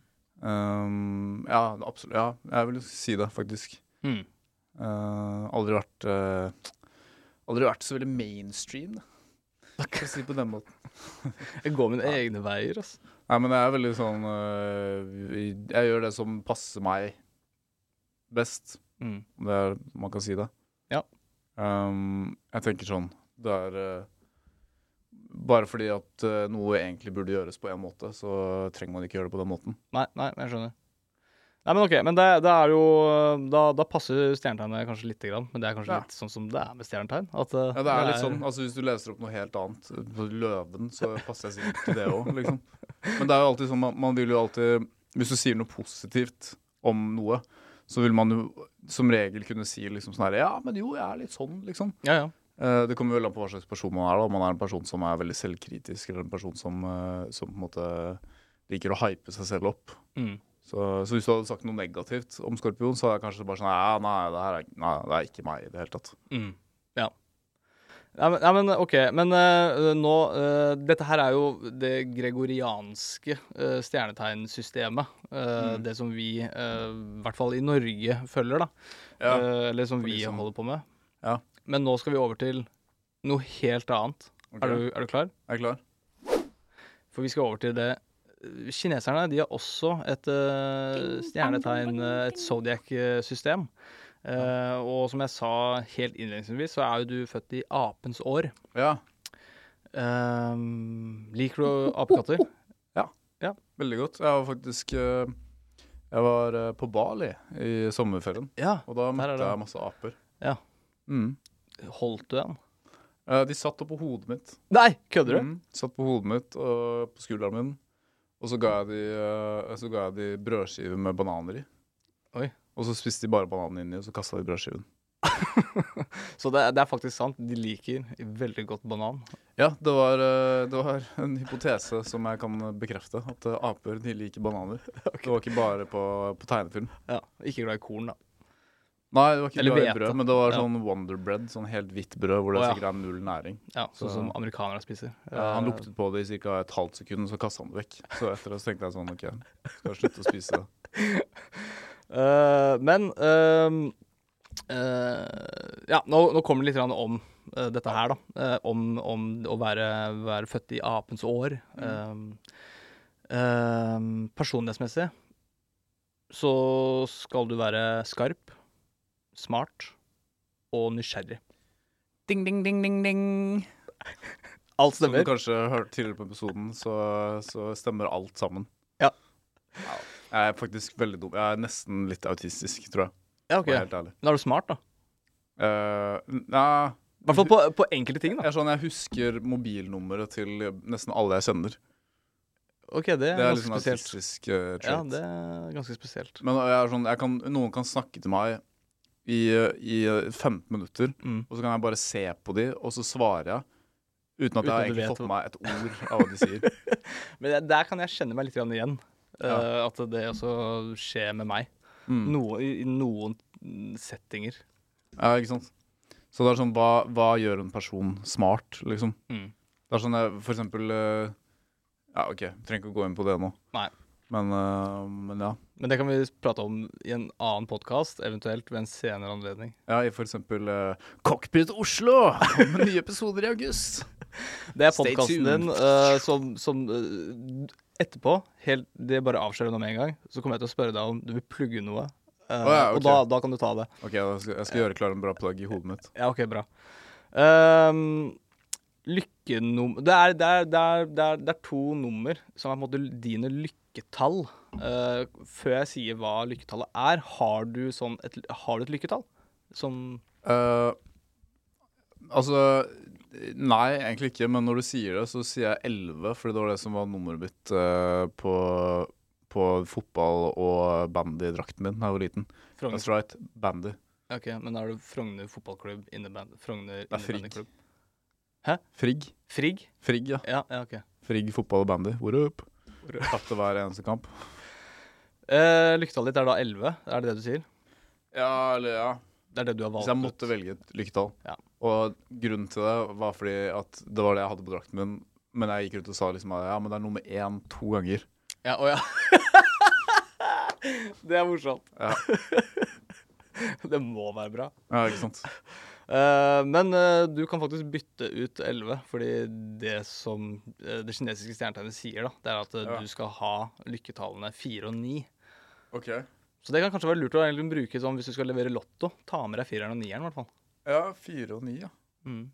S3: Ehm, ja, absolutt. Ja, jeg vil si det, faktisk.
S2: Mm.
S3: Eh, aldri vært eh, Aldri vært så veldig mainstream, da. for å si det på den måten.
S2: Jeg går mine egne veier, ass.
S3: Nei, men jeg er veldig sånn eh, Jeg gjør det som passer meg best,
S2: Mm.
S3: om det er, man kan si det.
S2: Ja.
S3: Ehm, jeg tenker sånn Det er eh, Bare fordi at eh, noe egentlig burde gjøres på én måte, så trenger man ikke gjøre det på den måten.
S2: Nei, nei, jeg skjønner. Nei, men ok, men det, det er jo Da, da passer stjernetegnet kanskje lite grann, men det er kanskje
S3: Ja.
S2: litt sånn som det er med stjernetegn. At, eh,
S3: Ja, det er litt sånn, altså Hvis du leser opp noe helt annet, på Løven, så passer jeg sikkert til det òg. Liksom. Men det er jo alltid sånn, man, man vil jo alltid Hvis du sier noe positivt om noe, så vil man jo som regel kunne si liksom sånn her Ja, men jo, jeg er litt sånn, liksom.
S2: Ja, ja.
S3: Eh, Det kommer jo veldig an på hva slags person man er. da Om man er en person som er veldig selvkritisk, eller en person som, eh, som på en måte liker å hype seg selv opp.
S2: Mm.
S3: Så, så hvis du hadde sagt noe negativt om Skorpion, så hadde jeg kanskje bare sånn Ja, nei, det her er, nei, det er ikke meg i det hele tatt.
S2: Mm. Ja. Nei, men, nei, men OK. Men eh, nå eh, Dette her er jo det gregorianske eh, stjernetegnsystemet. eh, Det som vi, eh, i hvert fall i Norge, følger, da.
S3: Ja,
S2: Eh, eller som vi
S3: liksom-
S2: holder på med.
S3: Ja.
S2: Men nå skal vi over til noe helt annet.
S3: Ok.
S2: Er, du, er du klar?
S3: Er jeg klar?
S2: For vi skal over til det Kineserne de har også et eh, stjernetegn, eh, et zodiac-system. Eh, og som jeg sa helt innledningsvis, så er jo du født i apens år.
S3: Ja.
S2: Eh, liker du apekatter?
S3: Veldig godt. Jeg var faktisk eh, Jeg var eh, på Bali i sommerferien,
S2: Ja.
S3: og da
S2: Der er
S3: møtte
S2: det.
S3: jeg masse aper.
S2: ja.
S3: Mm.
S2: Holdt du den?
S3: Eh, De satt oppå hodet mitt.
S2: Nei, kødder du?
S3: Mm. Satt på hodet mitt og på skulderen min. Og så ga jeg de, eh, så ga jeg de brødskiver med bananer i.
S2: Oi.
S3: Og så spiste de bare bananen inni, og så kasta de brødskiven.
S2: Så det, er- det er faktisk sant. De liker veldig godt banan.
S3: Ja, det var, eh, det var en hypotese som jeg kan bekrefte. At eh, aper de liker bananer. Det var ikke bare på, på tegnefilm.
S2: Ja. Ikke glad i korn, da.
S3: Nei, det var ikke
S2: Eller
S3: bare
S2: hvete.
S3: brød, men det var
S2: Ja.
S3: sånn Wonder Bread. Sånn helt hvitt brød hvor
S2: Å,
S3: det
S2: ja.
S3: sikkert er null næring.
S2: Ja, Sånn
S3: Så-
S2: som amerikanere spiser.
S3: Ja, han
S2: Eh,
S3: luktet på det i ca. et halvt sekund, så kasta han det vekk. Så etter det så tenkte jeg sånn, OK, skal jeg slutte å spise det.
S2: Eh, men ehm, eh, Ja, nå, nå kommer det litt grann om eh, dette her, da. Eh, om, om å være, være født i apens år. Ehm, ehm, personlighetsmessig så skal du være skarp, smart og nysgjerrig.
S3: Ding, ding, ding, ding, ding.
S2: Alt
S3: Som du
S2: stemmer.
S3: kanskje hørte tidligere på episoden, så, så stemmer alt sammen.
S2: Ja.
S3: Ja. Jeg er faktisk veldig dum. Jeg er nesten litt autistisk, tror jeg.
S2: Ja,
S3: for å
S2: ok.
S3: være Helt ærlig.
S2: Men er du smart, da?
S3: Eh, nei,
S2: I hvert fall på, på enkelte ting,
S3: jeg,
S2: da.
S3: er sånn, jeg husker mobilnummeret til nesten alle jeg kjenner.
S2: Ok, det er liksom
S3: Det er litt
S2: ganske
S3: sånn
S2: spesielt.
S3: autistisk eh, trait.
S2: Ja, det er ganske spesielt.
S3: Men jeg er sånn, jeg kan, noen kan snakke til meg i, i 15 minutter,
S2: Mm.
S3: og så kan jeg bare se på de, og så svarer jeg. Uten at
S2: Uten at
S3: jeg har
S2: du
S3: egentlig
S2: vet
S3: fått
S2: hva-
S3: med meg et ord av hva de sier.
S2: Men det- der kan jeg kjenne meg litt grann igjen.
S3: Ja.
S2: eh, at det også skjer med meg.
S3: Mm.
S2: Noe, I i noen settinger.
S3: Ja, ikke sant? Så det er sånn, hva, hva gjør en person smart, liksom?
S2: Mm.
S3: Det er sånn, jeg, for eksempel eh, Ja, OK, trenger ikke å gå inn på det nå.
S2: Nei.
S3: Men, eh, men ja.
S2: Men det kan vi prate om i en annen podkast, eventuelt ved en senere anledning.
S3: Ja, i for eksempel eh, Cockpit Oslo! Kommer med nye episoder i august.
S2: Det er
S3: Stay
S2: podkasten din
S3: tuned.
S2: eh, som, som eh, etterpå helt, Det bare avslører noe med en gang. Så kommer jeg til å spørre deg om du vil plugge noe. Eh,
S3: ja, ok.
S2: Og da, da kan du ta det.
S3: OK, da skal, jeg skal gjøre klar en bra plagg i hodet mitt.
S2: Ja, OK, bra. Um, Lykkenummer det er, det, er, det, er, det, er, det er to nummer som er på en måte dine lykketall. Eh, før jeg sier hva lykketallet er, har du, sånn et, har du et lykketall? Som
S3: Eh, altså Nei, egentlig ikke, men når du sier det, så sier jeg 11, fordi det var det som var nummeret mitt eh, på, på fotball og bandy-drakten min da jeg var liten.
S2: Frogner
S3: That's right, bandy.
S2: Ok, men da er det Frogner fotballklubb, inneband, Frogner
S3: er Frigg.
S2: innebandyklubb.
S3: Frigg.
S2: Frigg?
S3: Frigg, ja.
S2: Ja, ja, ok.
S3: Frigg fotball og bandy. What up? Tapte hver eneste kamp.
S2: Eh, lykketallet ditt er da 11, er det det du sier?
S3: Ja, eller ja.
S2: Det er det du har valgt
S3: Hvis jeg
S2: ut?
S3: måtte velge et lykketall.
S2: Ja.
S3: Og grunnen til det var fordi at det var det jeg hadde på drakten min Men jeg gikk rundt og sa liksom at ja, men det er nummer én to ganger.
S2: Ja, å ja. det er morsomt. det må være bra.
S3: Ja, ikke sant?
S2: Eh, men eh, du kan faktisk bytte ut 11, fordi det som eh, det kinesiske stjernetegnet sier, da, det er at eh, du skal ha lykketallene 4 og 9.
S3: Ok.
S2: Så det kan kanskje være lurt å egentlig bruke sånn hvis du skal levere lotto. Ta med deg fireren og nieren, i hvert fall.
S3: Ja, fire og ni, ja.
S2: Mm.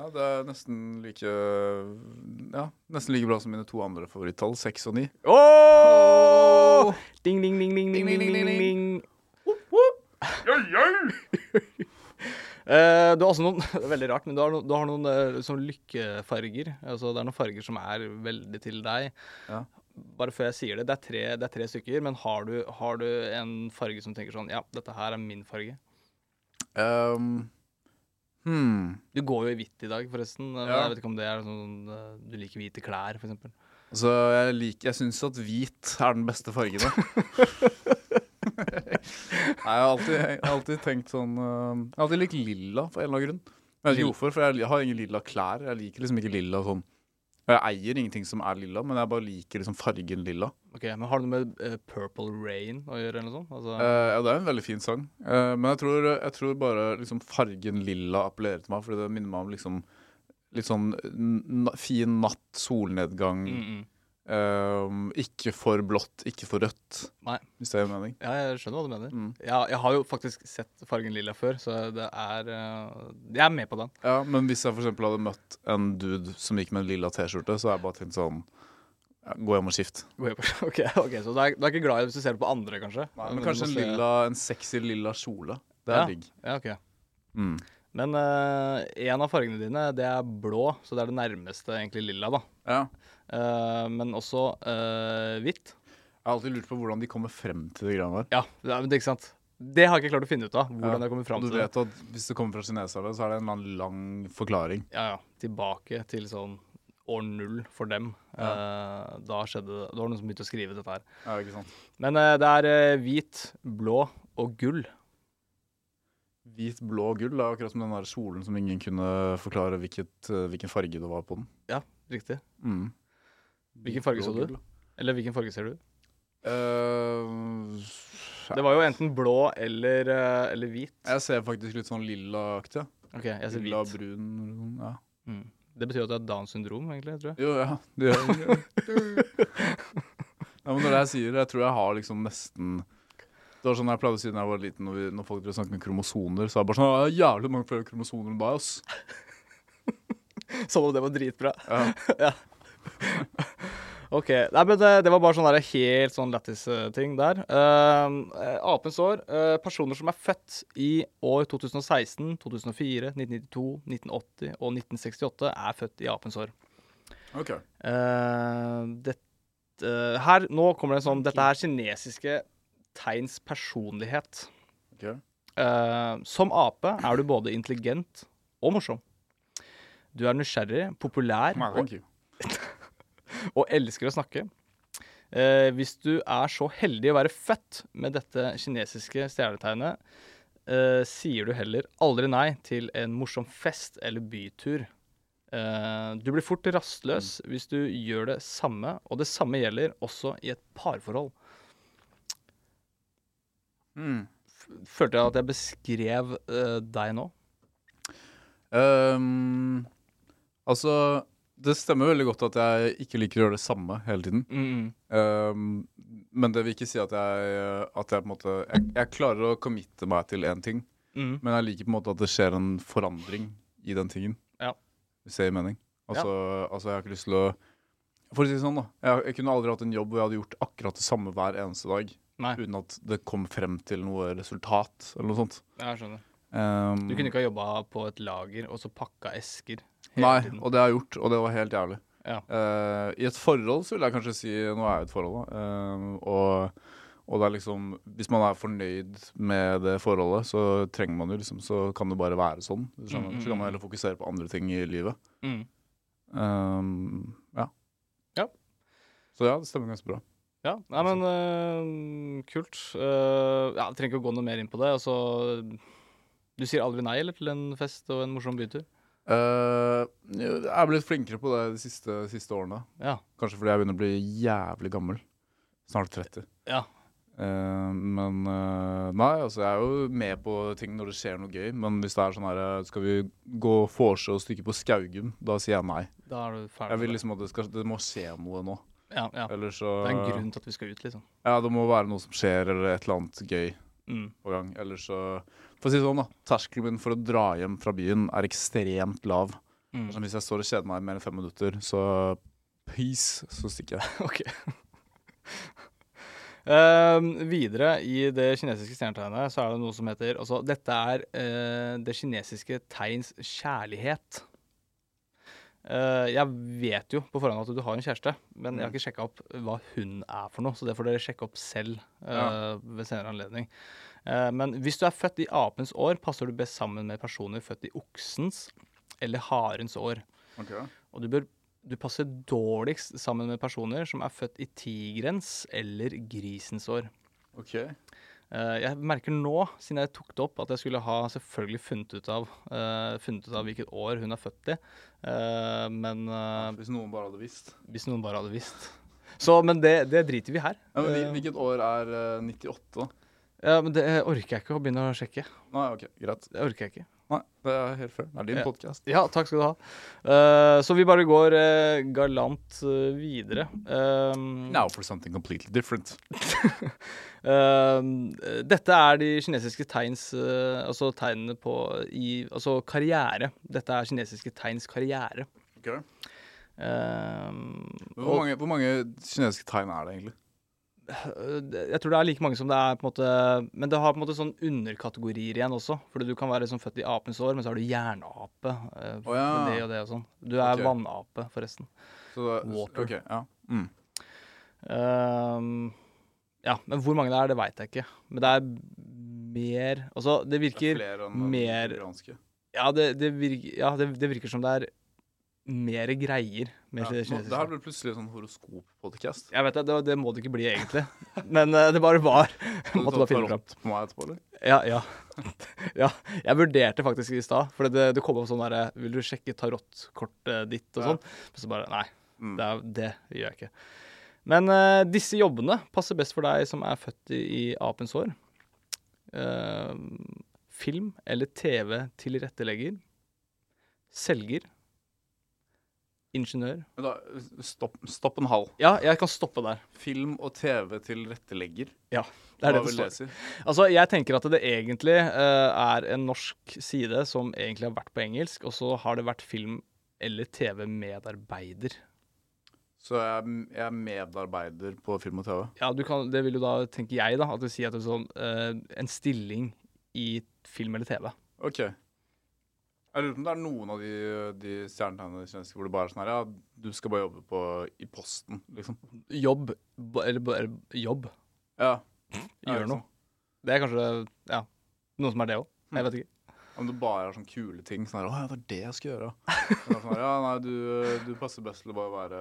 S3: Ja, Det er nesten like Ja, nesten like bra som mine to andre favorittall, seks og ni.
S2: Oh! Ding, ding, ding, ding, ding, ding, ding, ding, ding. Eh, Du har også noen Det er veldig rart, men du har, no, du har noen eh, sånn lykkefarger. Altså, det er noen farger som er veldig til deg.
S3: Ja.
S2: Bare før jeg sier det, det er tre, det er tre stykker, men har du, har du en farge som tenker sånn Ja, dette her er min farge.
S3: Ehm, hmm.
S2: Du går jo i hvitt i dag, forresten. men
S3: Ja.
S2: Jeg vet ikke om det er sånn eh, Du liker hvite klær, for eksempel.
S3: Så Altså, jeg, lik, jeg syns at hvit er den beste fargen, da. Nei, jeg har alltid, jeg har alltid tenkt sånn øhm, Jeg har alltid likt lilla, for en eller annen grunn. Jeg vet ikke hvorfor, for jeg har ingen lilla klær. Jeg liker liksom ikke lilla sånn Og Jeg eier ingenting som er lilla, men jeg bare liker liksom fargen lilla.
S2: Ok, Men har det noe med eh, Purple Rain å gjøre, eller noe sånt? Altså,
S3: Eh, ja, det er en veldig fin sang. Eh, men jeg tror, jeg tror bare liksom fargen lilla appellerer til meg, fordi det minner meg om liksom litt sånn n- n- fin natt, solnedgang.
S2: mm, mm.
S3: Eh, ikke for blått, ikke for rødt,
S2: Nei.
S3: hvis det gir mening.
S2: Ja, jeg skjønner hva du mener.
S3: Mm.
S2: Ja, jeg har jo faktisk sett fargen lilla før, så det er eh, Jeg er med på den.
S3: Ja, Men hvis jeg for eksempel hadde møtt en dude som gikk med en lilla T-skjorte, så hadde jeg bare tenkt sånn ja, Gå hjem og skift.
S2: Går jeg på- Ok, ok, Så du er, du er ikke glad i det hvis du ser det på andre, kanskje?
S3: men
S2: du må
S3: kanskje en,
S2: se-
S3: lilla, en sexy lilla kjole. Det er
S2: ja.
S3: digg.
S2: Ja, ok.
S3: Mm.
S2: Men eh, en av fargene dine, det er blå, så det er det nærmeste egentlig lilla, da.
S3: Ja.
S2: Eh, men også eh, hvitt.
S3: Jeg har alltid lurt på hvordan de kommer frem til de greiene der.
S2: Ja, det er, men det er ikke sant? Det har jeg ikke klart å finne ut av. Hvordan jeg kommer
S3: Og
S2: fram
S3: Du
S2: til det.
S3: vet at hvis det kommer fra kineserne, så er det en eller annen lang forklaring.
S2: Ja, ja. Tilbake til sånn år null for dem. Eh, da skjedde det. Det var noen som begynte å skrive dette her.
S3: Ja, ikke sant?
S2: Men eh, det er eh, hvit, blå og gull.
S3: Hvit, blå og gull er akkurat som den der kjolen som ingen kunne forklare hvilket, eh, hvilken farge det var på den.
S2: Ja, riktig.
S3: Mm.
S2: Hvilken farge så
S3: Blå
S2: du?
S3: og gull.
S2: Eller hvilken farge ser du?
S3: Eh,
S2: Det var jo enten blå eller, eh, eller hvit.
S3: jeg ser faktisk litt sånn lillaaktig. ja.
S2: OK, jeg ser
S3: Lilla,
S2: hvit.
S3: brun ja.
S2: Mm. Det betyr at du har Downs syndrom, egentlig. tror jeg.
S3: Jo, ja. Det gjør jeg. ja, men når jeg sier det, jeg tror jeg har liksom nesten Det var sånn jeg pleide å si da jeg var liten, når, vi, når folk drev og snakket om kromosoner, så var jeg bare sånn «Å, Jeg har jævlig mange flere kromosoner enn deg, ass.
S2: Som om det var dritbra.
S3: Ja.
S2: ja. OK. Nei, men det, det var bare sånn der helt sånn lættis-ting der. Ehm, eh, apens år. eh, personer som er født i år 2016, 2004, 1992, 1980 og 1968, er født i apens år.
S3: Ok.
S2: Eh, dette, eh, her, nå kommer det en sånn Dette er kinesiske tegns personlighet.
S3: Ok.
S2: Eh, som ape er du både intelligent og morsom. Du er nysgjerrig, populær og,
S3: Thank you.
S2: og elsker å snakke. Eh, hvis du er så heldig å være født med dette kinesiske stjernetegnet, eh, sier du heller aldri nei til en morsom fest eller bytur. Eh, du blir fort rastløs hvis du gjør det samme, og det samme gjelder også i et parforhold. F- Følte jeg at jeg beskrev eh, deg nå?
S3: Ehm, altså, det stemmer veldig godt at jeg ikke liker å gjøre det samme hele tiden. Ehm, men det vil ikke si at jeg, at jeg på en måte Jeg, jeg klarer å committe meg til én ting,
S2: Mm.
S3: men jeg liker på en måte at det skjer en forandring i den tingen.
S2: Ja.
S3: Hvis det gir mening. Altså, altså, jeg har ikke lyst til å For å si det sånn, da. Jeg, jeg kunne aldri hatt en jobb hvor jeg hadde gjort akkurat det samme hver eneste dag
S2: Nei,
S3: uten at det kom frem til noe resultat eller noe sånt.
S2: jeg skjønner.
S3: Ehm,
S2: Du kunne ikke ha jobba på et lager og så pakka esker hele
S3: Nei,
S2: tiden.
S3: og det har jeg gjort, og det var helt jævlig.
S2: Ja.
S3: Eh, I et forhold så vil jeg kanskje si Nå er jeg i et forhold, da. eh, og, og det er liksom Hvis man er fornøyd med det forholdet, så trenger man jo liksom Så kan det bare være sånn. hvis du skjønner. Så kan man heller fokusere på andre ting i livet.
S2: Mm.
S3: Um, ja.
S2: Ja.
S3: Så ja, det stemmer ganske bra.
S2: Ja, nei, men øh, kult. Øh, ja, jeg trenger ikke å gå noe mer inn på det. Altså, du sier aldri nei eller, til en fest og en morsom bytur?
S3: Eh, jeg er blitt flinkere på det de siste, siste årene.
S2: Ja.
S3: Kanskje fordi jeg begynner å bli jævlig gammel. Snart 30.
S2: ja.
S3: Eh, men eh, nei, altså jeg er jo med på ting når det skjer noe gøy. Men hvis det er sånn her eh, Skal vi gå foreslå stykke på Skaugum? Da sier jeg nei.
S2: Da er du ferdig.
S3: Jeg vil
S2: med det.
S3: liksom at det, skal, det må skje noe nå.
S2: ja, ja.
S3: Eller så
S2: Det er en grunn til at vi skal ut, liksom.
S3: Ja, det må være noe som skjer, eller et eller annet gøy
S2: Mm.
S3: på gang. Eller så For å si det sånn, da. Terskelen min for å dra hjem fra byen er ekstremt lav.
S2: Mm.
S3: Så hvis jeg står og kjeder meg i mer enn fem minutter, så peace, så stikker jeg.
S2: Ok. Ehm, videre i det kinesiske stjernetegnet så er det noe som heter altså, Dette er eh, det kinesiske tegns kjærlighet. Eh, jeg vet jo på forhånd at du har en kjæreste, men jeg har ikke sjekka opp hva hun er for noe, så det får dere sjekke opp selv eh,
S3: Ja.
S2: ved senere anledning. Eh, men hvis du er født i apens år, passer du best sammen med personer født i oksens eller harens år. Og du bør du passer dårligst sammen med personer som er født i tigerens eller grisens år.
S3: OK.
S2: Eh, jeg merker nå, siden jeg tok det opp, at jeg skulle ha selvfølgelig funnet ut av, eh, funnet ut av hvilket år hun er født i. Eh, men eh,
S3: Hvis noen bare hadde visst.
S2: hvis noen bare hadde visst Så, Men det, det driter vi her.
S3: Ja, men hvil-
S2: Eh,
S3: Hvilket år er eh, 98, da?
S2: ja, men det orker jeg ikke å begynne å sjekke.
S3: Nei, OK, greit.
S2: Det orker jeg ikke.
S3: Nei, det er helt fair. Det er din
S2: Ja.
S3: podcast podkast.
S2: Ja, takk skal du ha. Eh, så vi bare går eh, galant eh, videre. Eh,
S3: Now for something completely different.
S2: Ehm, dette er de kinesiske tegns eh, Altså tegnene på i, Altså karriere. Dette er kinesiske tegns karriere.
S3: Okay.
S2: Ehm,
S3: Hvor,
S2: og,
S3: mange, hvor mange kinesiske tegn er det egentlig?
S2: eh, jeg tror det er like mange som det er på en måte Men det har på en måte sånn underkategorier igjen også. Fordi du kan være sånn født i apens år, men så har du jernape. eh,
S3: Å ja.
S2: Det og det og sånn. Du er
S3: Ok.
S2: vannape, forresten.
S3: Så det,
S2: Water.
S3: ok, ja. Mm.
S2: Ehm, ja, men hvor mange det er, det veit jeg ikke. Men det er mer Altså, det
S3: Det er
S2: virker
S3: flere enn
S2: mer-
S3: den iranske.
S2: Ja, det, det, virker, ja det, det virker som det er mer greier med
S3: Ja.
S2: det
S3: Nå- Det her
S2: kinesiske.
S3: ble plutselig sånn horoskop-podkast.
S2: Jeg vet det, det, det må det ikke bli egentlig. Men eh, det bare var.
S3: Du
S2: Måtte
S3: tar
S2: bare finne
S3: tarot
S2: fram.
S3: På meg etterpå, eller?
S2: Ja, ja. ja. Jeg vurderte faktisk i stad, for det, det kom opp sånn derre Vil du sjekke tarotkortet ditt og
S3: Ja.
S2: sånn? Men så bare Nei,
S3: Mm.
S2: det, er, det gjør jeg ikke. Men eh, disse jobbene passer best for deg som er født i, i apens år. Eh, film- eller TV-tilrettelegger. Selger. Ingeniør.
S3: Men da, stopp, stopp en halv.
S2: Ja, jeg kan stoppe der.
S3: Film og TV til rettelegger.
S2: Ja, det er
S3: Hva
S2: det det
S3: vil
S2: står.
S3: si?
S2: Altså, jeg tenker at det egentlig eh, er en norsk side som egentlig har vært på engelsk, og så har det vært film- eller TV-medarbeider.
S3: Så jeg, jeg er medarbeider på film og TV.
S2: Ja, du kan, det vil jo da, tenker jeg da, at det sier at det er sånn eh, en stilling i film eller TV.
S3: OK. Jeg lurer på om det er noen av de, de stjernetegnene i kinesisk hvor det bare er sånn her Ja, du skal bare jobbe på, i Posten, liksom.
S2: Jobb, ba- eller bare jobb,
S3: Ja. Ja,
S2: gjør
S3: ikke
S2: noe.
S3: sant.
S2: Det er kanskje, ja, noen som er det også. Jeg vet ikke.
S3: Om det bare er sånne kule ting. Sånn her Å ja, det er det jeg skal gjøre. Men det er Sånn her, ja, nei, du, du passer best til å bare være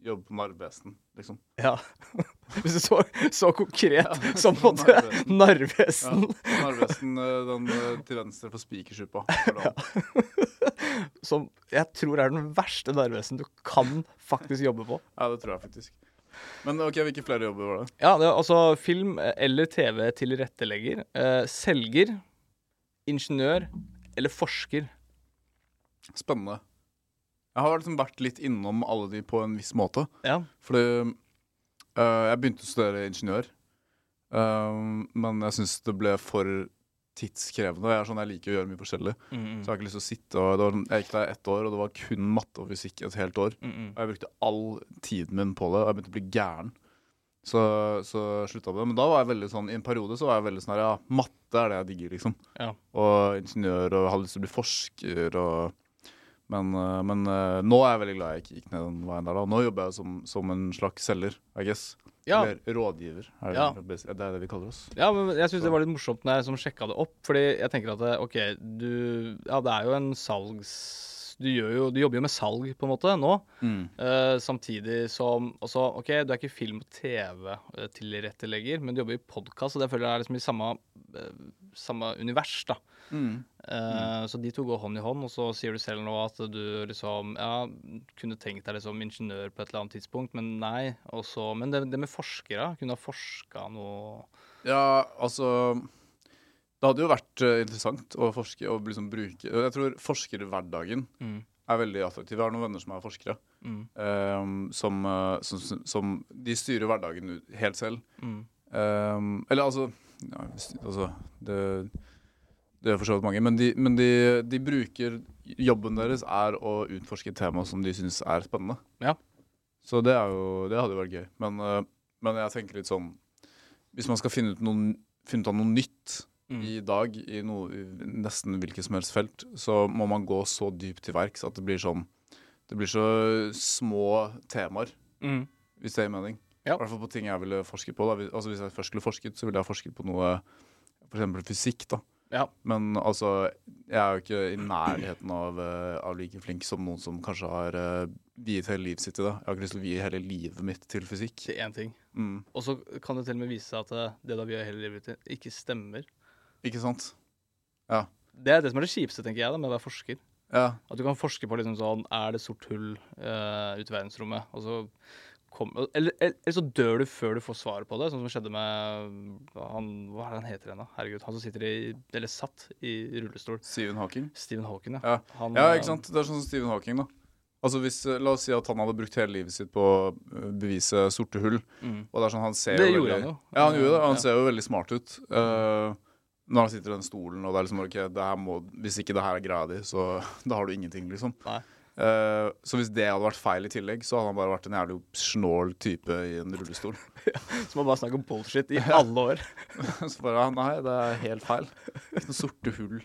S3: jobbe på Narvesen, liksom.
S2: Ja. Hvis du så, så konkret som på en måte
S3: Narvesen. Ja.
S2: Narvesen,
S3: Narvesen, eh, den eh, til venstre for Spikersuppa. Ja.
S2: som jeg tror er den verste Narvesen du kan faktisk jobbe på.
S3: ja, det tror jeg faktisk. Men OK, hvilke flere jobber var det?
S2: Ja, det er altså film- eller TV-tilrettelegger, eh, selger, ingeniør eller forsker.
S3: Spennende. Jeg har liksom vært litt innom alle de på en viss måte.
S2: Ja.
S3: Fordi øh, jeg begynte å studere ingeniør, Ehm, men jeg syns det ble for tidskrevende. Og jeg, er sånn, jeg liker å gjøre mye forskjellig, så jeg har ikke lyst til å sitte og det var, sånn- Jeg gikk der ett år, og det var kun matte og fysikk et helt år. Og jeg brukte all tiden min på det, og jeg begynte å bli gæren. Så, så slutta jeg med det. Men da var jeg veldig sånn, i en periode så var jeg veldig sånn her, ja, matte er det jeg digger, liksom.
S2: Ja.
S3: Og ingeniør, og hadde lyst til å bli forsker og men, øh, men øh, nå er jeg veldig glad jeg ikke gikk ned den veien der. da Nå jobber jeg som, som en slags selger, I guess.
S2: Ja.
S3: Eller rådgiver. Er det,
S2: Ja.
S3: det er det vi kaller oss.
S2: Ja, men jeg syns det var litt morsomt når jeg liksom sjekka det opp. Fordi jeg tenker at det- OK, du Ja, det er jo en salgs... Du, gjør jo, du jobber jo med salg, på en måte, nå.
S3: Mm.
S2: Eh, samtidig som altså, også, OK, du er ikke film- og TV-tilrettelegger, men du jobber i podkast, og det føler jeg er liksom i samme eh, samme univers, da.
S3: Mm.
S2: Eh, Så de to går hånd i hånd, og så sier du selv nå at du liksom ja, kunne tenkt deg liksom ingeniør på et eller annet tidspunkt, men nei. Og så, men det, det med forskere, kunne ha forska noe
S3: Ja, altså Det hadde jo vært eh, interessant å forske og liksom bruke Jeg tror forskerhverdagen er veldig attraktiv. Jeg har noen venner som er forskere. eh, som, eh, som, som, som De styrer hverdagen ut- helt selv. Eh, eller altså, ja, hvis- altså det, det er for så vidt mange. Men, de, men de, de bruker Jobben deres er å utforske et tema som de syns er spennende.
S2: Ja.
S3: Så det, er jo, det hadde jo vært gøy. Men, eh, men jeg tenker litt sånn Hvis man skal finne ut, noen, finne ut av noe nytt
S2: Mm.
S3: i dag, i, noe, i nesten hvilket som helst felt, så må man gå så dypt til verks at det blir sånn Det blir så små temaer, hvis det gir mening.
S2: Mm. Ja.
S3: I hvert fall på ting jeg ville forsket på. Da. Hvis- Altså, hvis jeg først skulle forsket, så ville jeg forsket på noe F.eks. fysikk. da
S2: Ja.
S3: men altså, jeg er jo ikke i nærheten av, eh, av like flink som noen som kanskje har eh, viet hele livet sitt til det. Jeg har ikke lyst til å vie hele livet mitt til fysikk.
S2: til én ting.
S3: Mm.
S2: Og så kan det til og med vise seg at eh, det da vi gjør hele livet til, ikke stemmer.
S3: Ikke sant? Ja.
S2: Det er det som er det kjipeste, tenker jeg, da, med å være forsker.
S3: ja.
S2: At du kan forske på liksom sånn Er det sort hull eh, ute i verdensrommet? Og så kom, eller, eller, eller så dør du før du får svaret på det, sånn som skjedde med han, Hva er det han heter igjen, da? Herregud. Han som sitter i Eller satt i rullestol.
S3: Stephen Hawking.
S2: Stephen Hawking,
S3: Ja.
S2: Han,
S3: ja,
S2: eh,
S3: ikke sant? Det er sånn som Stephen Hawking, da. Altså hvis, eh, La oss si at han hadde brukt hele livet sitt på å eh, bevise sorte hull. Og det er sånn, han ser
S2: Mm. Det
S3: jo
S2: gjorde
S3: veldig,
S2: han jo.
S3: Ja, han gjorde det. og Han
S2: Ja. Mm.
S3: ser jo veldig smart ut. eh, når han sitter i den stolen, og det er liksom ok, det her må, hvis ikke det her er greia di, så da har du ingenting, liksom.
S2: Nei.
S3: Eh, så hvis det hadde vært feil i tillegg, så hadde han bare vært en jævlig snål type i en rullestol.
S2: eh, Som har bare snakket om bullshit i alle år.
S3: så bare ja, Nei, det er helt feil. Ikke noe sorte hull.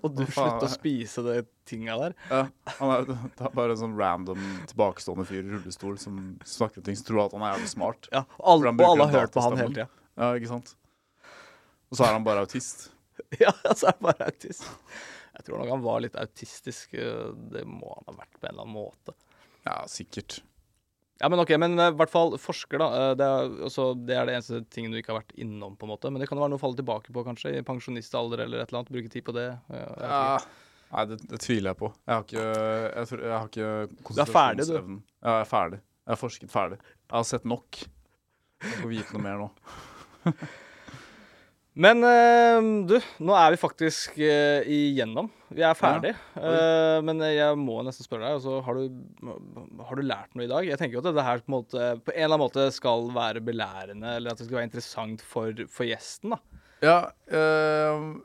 S2: Og du
S3: Hva faen
S2: slutter
S3: er-
S2: å spise det tinga der.
S3: Ja, han er, det er bare en sånn random tilbakestående fyr i rullestol som snakker om ting som tror at han er jævlig smart.
S2: Ja, alle,
S3: For han
S2: og
S3: bruker
S2: alle
S3: den
S2: har hørt på han hele
S3: datastemmen.
S2: tida.
S3: Ja, ikke sant? Og så er han bare autist.
S2: Ja, så er han bare autist. Jeg tror nok han var litt autistisk. eh, Det må han ha vært på en eller annen måte.
S3: Ja, sikkert.
S2: Ja, men ok, men eh, i hvert fall forsker, da. eh, Det er, altså, det er det eneste tingen du ikke har vært innom, på en måte. Men det kan jo være noe å falle tilbake på, kanskje. I pensjonistalder eller et eller annet. Bruke tid på det. eh, jeg vet ikke.
S3: Nei, det, det tviler jeg på. Jeg har ikke, jeg tror, jeg har
S2: Du
S3: ikke
S2: er ferdig, du.
S3: konsentrasjonsevnen. Ja, jeg er ferdig. Jeg har forsket ferdig. Jeg har sett nok. Jeg får vite noe mer nå.
S2: Men eh, du, nå er vi faktisk eh, igjennom. Vi er ferdig. Eh, men jeg må nesten spørre deg, altså, har, du, har du lært noe i dag? Jeg tenker jo at dette her på en, måte, på en eller annen måte skal være belærende, eller at det skal være interessant for, for gjesten. da.
S3: Ja, eh,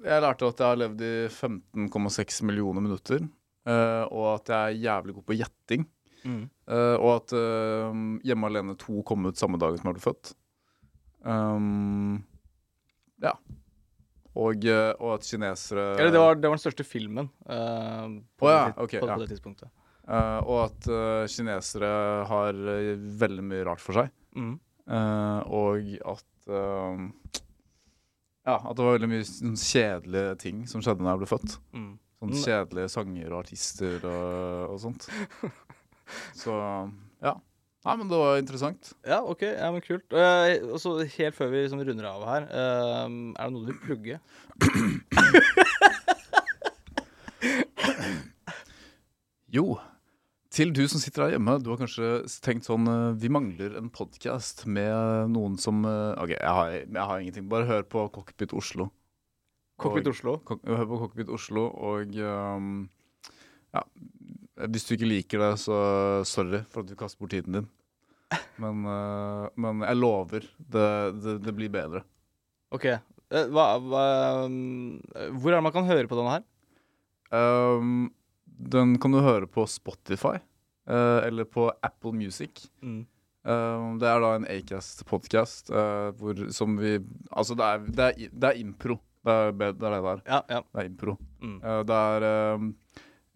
S3: jeg lærte at jeg har levd i 15,6 millioner minutter. eh, og at jeg er jævlig god på gjetting.
S2: Mm.
S3: Eh, og at eh, Hjemme alene 2 kom ut samme dagen som jeg ble født. Um, ja. Og, eh, og at kinesere
S2: Eller det var, det var den største filmen eh, på,
S3: Å ja,
S2: det, tid-
S3: ok,
S2: på,
S3: ja.
S2: på det tidspunktet.
S3: Eh, og at eh, kinesere har eh, veldig mye rart for seg.
S2: Mm.
S3: Eh, og at eh, Ja, at det var veldig mye sånn kjedelige ting som skjedde da jeg ble født.
S2: Mm.
S3: Sånn kjedelige sanger og artister og, og sånt. Så ja. Nei, men det var interessant.
S2: Ja, OK. ja, men Kult. Eh, og så helt før vi liksom runder av her, eh, er det noe du vil plugge?
S3: Jo, til du som sitter her hjemme, du har kanskje tenkt sånn eh, Vi mangler en podkast med noen som eh, OK, jeg har, jeg har ingenting. Bare hør på Cockpit Oslo.
S2: Cockpit Oslo.
S3: Kok- Hør på Cockpit Oslo, og ehm, ja, hvis du ikke liker det, så sorry for at du kaster bort tiden din. Men, eh, men jeg lover, det, det, det blir bedre.
S2: OK. eh, hva, hva, eh, hvor er det man kan høre på denne her?
S3: Ehm, den kan du høre på Spotify, eh, eller på Apple Music.
S2: Mm.
S3: Ehm, det er da en Acast-podkast hvor som vi Altså, det er, det er, det er impro. Det er be- det er det der.
S2: Ja, ja.
S3: Det er impro.
S2: Mm.
S3: Eh, det er eh,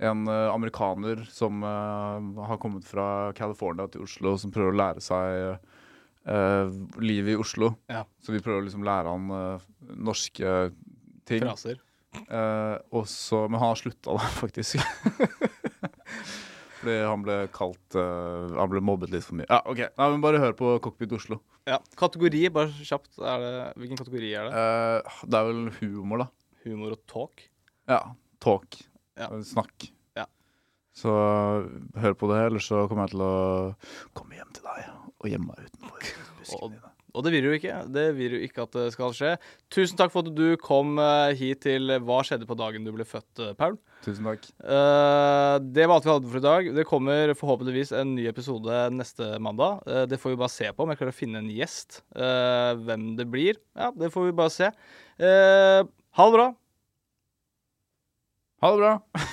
S3: en eh, amerikaner som eh, har kommet fra California til Oslo, som prøver å lære seg eh, livet i Oslo.
S2: Ja.
S3: Så vi prøver å liksom lære han eh, norske ting.
S2: Fraser.
S3: Eh, og så- men han har slutta, da, faktisk. Fordi han ble kalt eh, Han ble mobbet litt for mye. Ja, ok. Nei, men Bare hør på Cockpit Oslo.
S2: Ja. Kategori, bare kjapt. Er det, hvilken kategori er det?
S3: Eh, det er vel humor, da.
S2: Eh, Humor og talk?
S3: Ja. Talk.
S2: Ja.
S3: Eh, Snakk.
S2: Ja.
S3: Så hør på det, ellers så kommer jeg til å komme hjem til deg og gjemme meg utenfor buskene
S2: Og-
S3: dine.
S2: Og det vil du ikke. Det vil du ikke at det skal skje. Tusen takk for at du kom eh, hit til Hva skjedde på dagen du ble født, eh, Paul.
S3: Tusen takk.
S2: Eh, det var alt vi hadde for i dag. Det kommer forhåpentligvis en ny episode neste mandag. Eh, det får vi bare se på om jeg klarer å finne en gjest. Eh, hvem det blir, ja, det får vi bare se. Eh, ha det bra.
S3: Ha det bra.